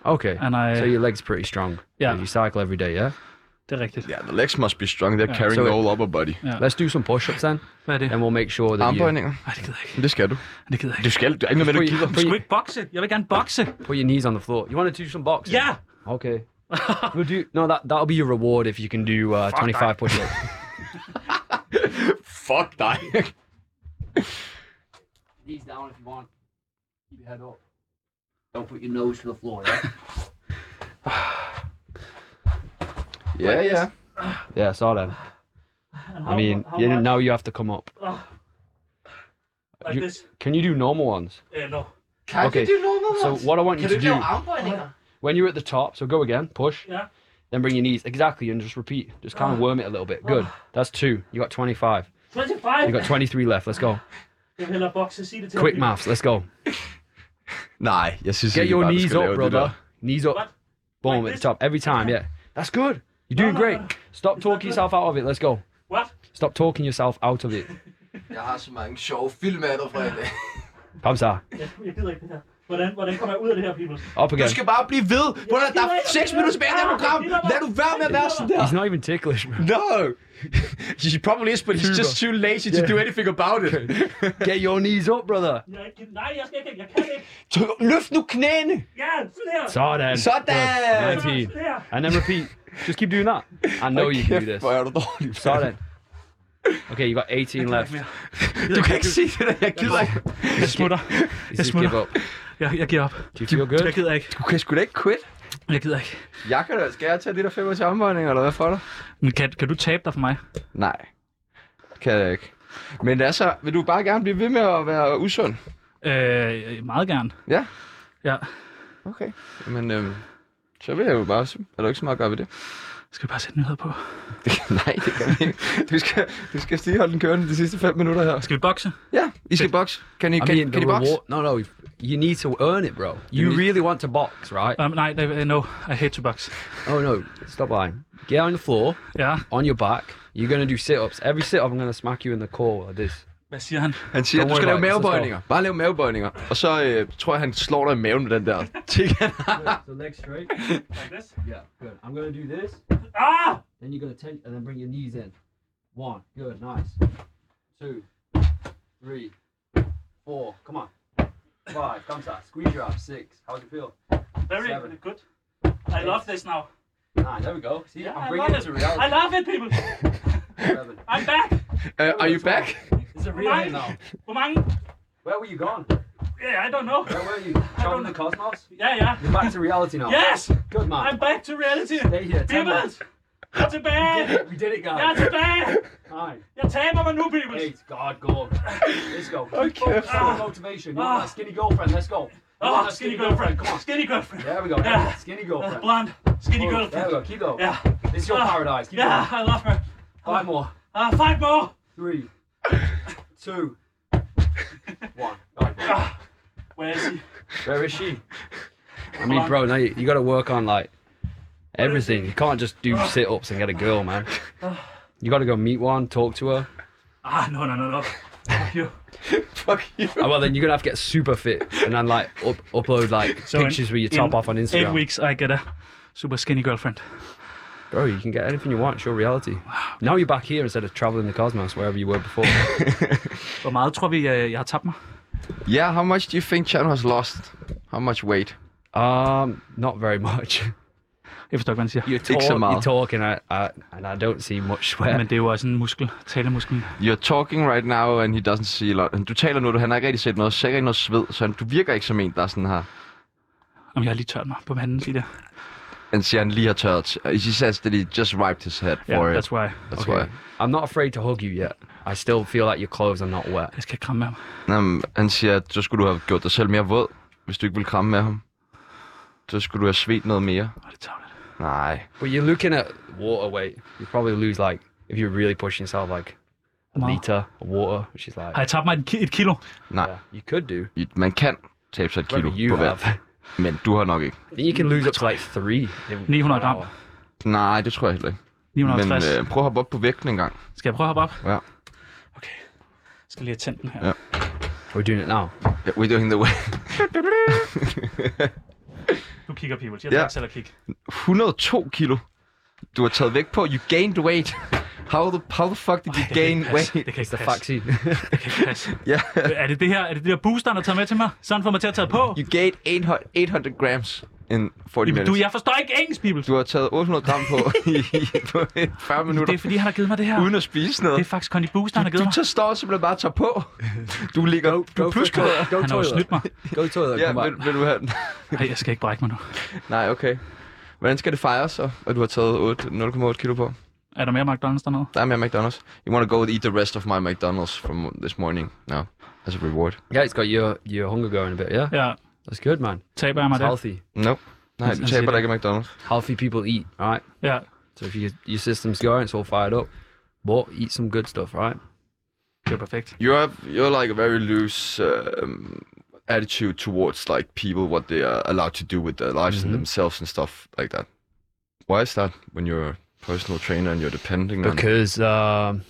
Speaker 9: Okay.
Speaker 2: and I...
Speaker 9: so your leg's pretty strong.
Speaker 2: Yeah.
Speaker 9: You cycle every day, yeah?
Speaker 2: Det er rigtigt.
Speaker 3: Yeah, the legs must be strong. They're
Speaker 2: Ja.
Speaker 3: carrying
Speaker 9: Så-
Speaker 3: the whole upper body.
Speaker 2: Ja.
Speaker 9: Let's do some push ups then,
Speaker 2: Hvad er det?
Speaker 9: and we'll make sure that you
Speaker 3: Armbøjninger.
Speaker 2: Nej, det gider jeg ikke.
Speaker 3: Men Det skal du.
Speaker 2: Det gider jeg
Speaker 3: Du
Speaker 2: ikke.
Speaker 3: skal. Du er ikke noget med, du
Speaker 9: Free-
Speaker 3: gider.
Speaker 2: Du
Speaker 9: free-
Speaker 2: skal ikke bokse. Jeg vil gerne bokse.
Speaker 9: put your knees on the floor. You want to do some boxing?
Speaker 2: Ja!
Speaker 9: Okay. we'll do, no, that, that'll be your reward if you can do uh, 25 push ups.
Speaker 3: Fuck dig.
Speaker 9: knees down if you want. Keep your head up. Don't put your nose to the floor, yeah?
Speaker 3: Ja, ja.
Speaker 9: yeah, saw that. I mean, you, now you have to come up.
Speaker 2: Oh. Like
Speaker 9: You-
Speaker 2: this.
Speaker 9: Can you do normal ones?
Speaker 2: Uh, no.
Speaker 9: okay. So what I want you to do when you're at the top, so go again, push.
Speaker 2: Yeah. Ah.
Speaker 9: Then bring your knees exactly and just repeat. Just kind of worm it a little bit. Good. That's two. You got 25.
Speaker 2: 25!
Speaker 9: You got 23 left. Let's go.
Speaker 2: Jeg hælder bokse, sig det til
Speaker 9: Quick maths. Let's go.
Speaker 3: Nej, jeg synes
Speaker 9: Get
Speaker 3: ikke,
Speaker 9: your
Speaker 3: bare, du
Speaker 9: knees
Speaker 3: skal
Speaker 9: up,
Speaker 3: lave det
Speaker 9: brother.
Speaker 3: der.
Speaker 9: Knees up.
Speaker 2: What?
Speaker 9: Boom
Speaker 2: Like
Speaker 9: at the
Speaker 2: this?
Speaker 9: top every time. Yeah. That's good. You're doing
Speaker 2: no,
Speaker 9: great.
Speaker 2: no.
Speaker 9: Stop
Speaker 2: not
Speaker 9: talking
Speaker 2: good.
Speaker 9: yourself out of it. Let's go.
Speaker 2: What?
Speaker 9: Stop talking yourself out of it.
Speaker 3: Jeg har så mange sjove film af dig fra i dag.
Speaker 9: Come on.
Speaker 2: Jeg, jeg gider ikke det her. Hvordan, hvordan kommer jeg ud af det her, people?
Speaker 9: Up
Speaker 3: Du
Speaker 9: again.
Speaker 3: skal bare blive ved. Hvordan, der er
Speaker 2: gider
Speaker 3: seks
Speaker 2: ikke.
Speaker 3: minutter tilbage i det her program. Lad du være med at være sådan der.
Speaker 9: He's not even ticklish, man.
Speaker 3: No. He probably is, but he's just too lazy to do anything about it.
Speaker 9: Get your knees up, brother.
Speaker 2: Jeg er ikke, nej, jeg skal ikke. Jeg kan ikke.
Speaker 3: Så Løft nu knæene.
Speaker 2: Ja, sådan her.
Speaker 9: Sådan.
Speaker 3: Sådan.
Speaker 9: Good. 19.
Speaker 2: Sådan her.
Speaker 9: And then repeat. Just keep doing that. I know you can do this.
Speaker 3: Hvor er du dårlig. mand.
Speaker 9: Started. Okay, you got 18 left.
Speaker 3: Du kan ikke sige det der. Jeg gider ikke.
Speaker 2: Jeg smutter.
Speaker 9: You
Speaker 2: Jeg
Speaker 9: just give
Speaker 2: smutter.
Speaker 9: up. Do
Speaker 2: Jeg, jeg giver op.
Speaker 9: you feel
Speaker 2: Jeg
Speaker 9: good?
Speaker 2: gider ikke.
Speaker 3: Du kan sgu da ikke quit.
Speaker 2: Jeg gider ikke.
Speaker 3: Jeg kan da. Skal jeg tage det der 25 armbøjninger, eller hvad for dig?
Speaker 2: Men kan, kan du tabe dig for mig?
Speaker 3: Nej. Kan jeg ikke. Men altså, vil du bare gerne blive ved med at være usund?
Speaker 2: Øh, meget gerne.
Speaker 3: Ja.
Speaker 2: Ja.
Speaker 3: Okay. Men øhm, så vil jeg jo bare... Er der ikke så meget at gøre ved det?
Speaker 2: Skal vi bare sætte nyheder på?
Speaker 3: Nej, det kan vi ikke. Du skal, du skal stige holde den kørende de sidste 5 minutter her.
Speaker 2: Skal vi bokse?
Speaker 3: Ja, I skal boxe. Kan I,
Speaker 9: I
Speaker 3: kan,
Speaker 9: mean,
Speaker 3: kan
Speaker 9: the
Speaker 3: I boxe?
Speaker 9: reward. No, no. You need to earn it, bro. You
Speaker 3: need-
Speaker 9: really want to box, right?
Speaker 2: Um, nej,
Speaker 4: øh,
Speaker 2: nej, no. I hate to box.
Speaker 9: Oh no! Stop lying. Get on the floor,
Speaker 2: Ja.
Speaker 9: on your back. You're gonna do sit-ups. Every sit-up, I'm gonna smack you in the core like this.
Speaker 2: Hvad siger han?
Speaker 3: Han siger,
Speaker 9: Don't
Speaker 3: du skal
Speaker 9: worry
Speaker 3: lave
Speaker 9: about it, så står-
Speaker 3: mavebøjninger. Bare lave mavebøjninger. Og så øh, tror jeg, han slår dig i maven med den der ting.
Speaker 9: So legs straight.
Speaker 2: Like this?
Speaker 9: Yeah, good. I'm gonna do this.
Speaker 2: Ah!
Speaker 9: Then you're gonna tense, and then bring your knees in. One, good, nice. Two, three, four. Come on. Five, come on. Squeeze your abs. Six. How'd you feel?
Speaker 2: Very
Speaker 9: Seven.
Speaker 2: good. I love this now.
Speaker 9: Nine. Ah, there we go. See, I'm
Speaker 4: I love
Speaker 9: bringing it
Speaker 4: it.
Speaker 9: to reality.
Speaker 4: I love it, people. I'm back.
Speaker 3: Uh, are you back?
Speaker 9: It's a
Speaker 4: Hvor mange?
Speaker 9: reality now.
Speaker 4: Hvor mange?
Speaker 9: Where were you gone?
Speaker 4: Yeah, I don't know.
Speaker 9: Where were you? Traveling the cosmos?
Speaker 4: Yeah, yeah.
Speaker 9: You're back to reality now.
Speaker 4: Yes!
Speaker 9: Good man.
Speaker 4: I'm back to reality.
Speaker 9: Stay here. Ten
Speaker 4: Peoples!
Speaker 9: months.
Speaker 4: Jeg er tilbage!
Speaker 9: We did it. We did it, guys.
Speaker 4: Jeg er tilbage!
Speaker 9: Fine.
Speaker 4: Jeg taber mig nu, Peoples!
Speaker 9: Eight. God, go. Let's go.
Speaker 4: Okay.
Speaker 9: Ah. Motivation. You want that skinny girlfriend? Let's go. You want
Speaker 4: Oh,
Speaker 9: that
Speaker 4: skinny girlfriend.
Speaker 9: Come on.
Speaker 4: Skinny girlfriend.
Speaker 9: There we go.
Speaker 4: Yeah.
Speaker 9: Skinny girlfriend.
Speaker 4: Blonde. Skinny
Speaker 9: Oh, There
Speaker 4: girlfriend.
Speaker 9: we go. Keep going.
Speaker 4: Yeah.
Speaker 9: This is your
Speaker 4: Ah.
Speaker 9: paradise. Keep
Speaker 4: Yeah,
Speaker 9: going.
Speaker 4: I love her.
Speaker 9: Five more.
Speaker 4: Uh, five more!
Speaker 9: Three. Two. One.
Speaker 4: Where is he?
Speaker 9: Where is she? I mean, bro, now you, you got to work on like everything. You can't just do sit ups and get a girl, man. You got to go meet one, talk to her.
Speaker 4: Ah, no, no, no, no. Fuck you.
Speaker 3: Fuck you.
Speaker 9: Oh, well, then you're gonna have to get super fit and then like up, upload like
Speaker 4: So in-
Speaker 9: pictures with your top
Speaker 4: in
Speaker 9: off on Instagram.
Speaker 4: Eight weeks, I get a super skinny girlfriend.
Speaker 9: Bro, you can get anything you want. It's your reality. Now you're back here instead of traveling the cosmos wherever you were before.
Speaker 4: Hvor meget tror vi, øh, jeg har tabt mig?
Speaker 3: Yeah, how much do you think Chan has lost? How much weight?
Speaker 9: um, not very much.
Speaker 4: Jeg forstår ikke, hvad han siger.
Speaker 9: You're,
Speaker 3: Ikke så
Speaker 9: talk,
Speaker 3: meget.
Speaker 9: you're talking, I, I, and I don't see much
Speaker 4: Ja.
Speaker 9: sweat.
Speaker 4: Men det er jo også en muskel, talemuskel.
Speaker 3: You're talking right now, and he doesn't see a lot. Du taler nu, du, han har ikke rigtig set noget, sikkert ikke noget sved, så han, du virker ikke som en, der er sådan her.
Speaker 4: Om jeg har lige tørt mig på panden lige der.
Speaker 3: Han siger, han lige har tørret. He says that he just wiped his head
Speaker 4: Ja,
Speaker 3: for
Speaker 4: yeah,
Speaker 3: it.
Speaker 4: that's why.
Speaker 3: That's
Speaker 9: Okay.
Speaker 3: why.
Speaker 9: I'm not afraid to hug you yet. I still feel like your clothes are not wet.
Speaker 4: Jeg skal kramme med ham.
Speaker 3: Nå, men han siger, at så skulle du have gjort dig selv mere våd, hvis du ikke ville kramme med ham. Så skulle du have svedt noget mere.
Speaker 4: Åh, det tager lidt.
Speaker 3: Nej.
Speaker 9: But you're looking at water weight. You probably lose like if you're really pushing yourself like a
Speaker 4: Wow.
Speaker 9: liter of water, which is like
Speaker 4: Har jeg tabt mig et, ki- et kilo?
Speaker 3: Nej.
Speaker 9: yeah, you could do.
Speaker 3: I- Man kan tabe sig et
Speaker 9: Whatever
Speaker 3: kilo
Speaker 9: you
Speaker 3: på hver.
Speaker 9: have.
Speaker 3: Men du har nok ikke.
Speaker 9: I think you can lose up to like three. in
Speaker 4: 900
Speaker 9: an
Speaker 4: gram.
Speaker 9: hour.
Speaker 3: Nej, det tror jeg heller ikke. Men
Speaker 4: 950. Men,
Speaker 3: øh, prøv at hoppe op på vægten en gang.
Speaker 4: Skal jeg prøve at hoppe op?
Speaker 3: Ja.
Speaker 4: Okay. Jeg skal lige have tændt den her.
Speaker 3: Ja.
Speaker 9: We're doing it now.
Speaker 3: Yeah, we're doing the way.
Speaker 4: Du kigger, Pibels. Jeg
Speaker 3: Ja.
Speaker 4: tager ikke selv at kigge.
Speaker 3: 102 kilo. Du har taget vægt på. You gained weight. How the, how the fuck did you
Speaker 4: Det kan
Speaker 3: gain
Speaker 4: ikke passe.
Speaker 3: weight?
Speaker 4: Det kan
Speaker 9: It's the
Speaker 4: ikke passe.
Speaker 9: vaccine.
Speaker 4: Det kan ikke passe.
Speaker 3: Ja.
Speaker 4: Er det det her, er det det der booster, der tager med til mig? Sådan får mig til at tage på?
Speaker 3: You gained 800 800 grams in 40
Speaker 4: Jamen,
Speaker 3: minutes.
Speaker 4: Du, jeg forstår ikke engelsk, Pibels.
Speaker 3: Du har taget 800 gram på i, i på 40
Speaker 4: Det
Speaker 3: minutter,
Speaker 4: er fordi, han har givet mig det her.
Speaker 3: uden at spise noget.
Speaker 4: Det er faktisk Condi Booster, han har givet
Speaker 3: Du
Speaker 4: mig.
Speaker 3: tager står simpelthen bare og tager på. Du ligger go,
Speaker 9: Go
Speaker 3: go
Speaker 9: for it,
Speaker 3: pludselig.
Speaker 9: go- Go
Speaker 4: Han har jo
Speaker 9: toilet.
Speaker 4: snydt mig.
Speaker 9: Go toilet.
Speaker 3: Ja,
Speaker 9: come
Speaker 3: vil,
Speaker 9: on.
Speaker 3: vil, du have den?
Speaker 4: Nej, jeg skal ikke brække mig nu.
Speaker 3: Nej, okay. Hvordan skal det fejres så, at du har taget 8, 0,8 kilo på?
Speaker 4: Er der mere McDonald's dernede?
Speaker 3: Der er mere McDonald's. You want to go and eat the rest of my McDonald's from this morning now as a reward.
Speaker 9: Yeah, it's got your your hunger going a bit. Yeah,
Speaker 4: Ja,
Speaker 9: that's good, man.
Speaker 4: taber jeg mig
Speaker 9: It's
Speaker 4: det?
Speaker 9: healthy.
Speaker 3: No. Nej,
Speaker 4: Han
Speaker 3: du
Speaker 4: siger
Speaker 3: taber dig
Speaker 4: det.
Speaker 3: ikke af McDonald's.
Speaker 9: Healthy people eat, right?
Speaker 4: Ja.
Speaker 9: So if your your system's going, it's all fired up. But eat some good stuff, right?
Speaker 4: Det er perfekt.
Speaker 3: You're, you're like a very loose um, attitude towards like people, what they are allowed to do with their lives and
Speaker 4: Mm-hmm.
Speaker 3: themselves and stuff like that. Why is that when you're a personal trainer and you're depending on...
Speaker 9: because um,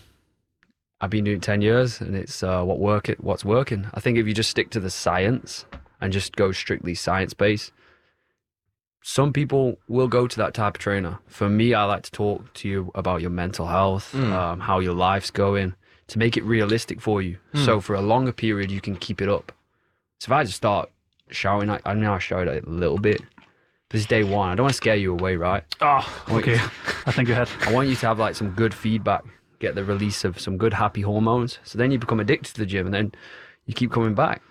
Speaker 9: I've been doing it ten years, and it's uh, what work it, what's working. I think if you just stick to the science and just go strictly science based, some people will go to that type of trainer. For me, I like to talk to you about your mental health, um, how your life's going, to make it realistic for you. So for a longer period, you can keep it up. So if I just start shouting, I, I know I shouted a little bit. This is day one. I don't want to scare you away, right?
Speaker 4: Åh, oh, okay. I think you had.
Speaker 9: I want you to have like some good feedback, get the release of some good happy hormones. So then you become addicted to the gym, and then you keep coming back.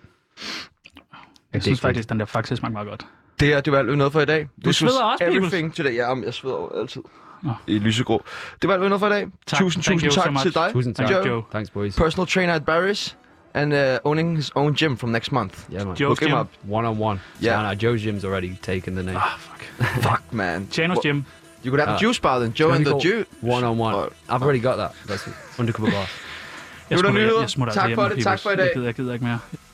Speaker 4: Jeg synes faktisk, den der faktisk smagte meget godt.
Speaker 3: Det her, det var alt, vi nåede for i dag.
Speaker 4: Du
Speaker 3: This was
Speaker 4: sveder også, Bibels.
Speaker 3: Everything today. Ja, men jeg sveder over altid.
Speaker 4: Nå.
Speaker 3: I lysegrå. Det var alt, vi nåede for i dag.
Speaker 4: Tak.
Speaker 3: Tusind,
Speaker 4: Thank
Speaker 3: tusind
Speaker 4: you so
Speaker 3: tak
Speaker 4: much.
Speaker 3: til dig,
Speaker 9: Tusind
Speaker 4: tak.
Speaker 3: Joe.
Speaker 4: Joe.
Speaker 9: Thanks, boys.
Speaker 3: Personal trainer at Barry's and uh, owning his own gym from next month.
Speaker 9: Yeah, man.
Speaker 4: Joe's
Speaker 3: Look him
Speaker 4: gym.
Speaker 3: up.
Speaker 9: One on one.
Speaker 3: Yeah.
Speaker 9: Yeah. Joe's gym's already taken the name.
Speaker 4: Ah, fuck.
Speaker 3: Fuck, man.
Speaker 4: Chanos
Speaker 3: Well,
Speaker 4: Gym.
Speaker 3: You could have
Speaker 9: Uh,
Speaker 3: the juice bar then. Joe and the juice.
Speaker 9: One on one.
Speaker 3: Oh.
Speaker 9: I've already got that. That's undercover boss.
Speaker 4: Jeg
Speaker 3: Nu er der
Speaker 4: smutter,
Speaker 3: nyheder.
Speaker 4: jeg, jeg smutter
Speaker 3: Tak
Speaker 4: altså hjem
Speaker 3: for
Speaker 4: nu,
Speaker 3: det.
Speaker 4: Peoples.
Speaker 3: Tak for i dag.
Speaker 4: Jeg gider, jeg gider ikke mere.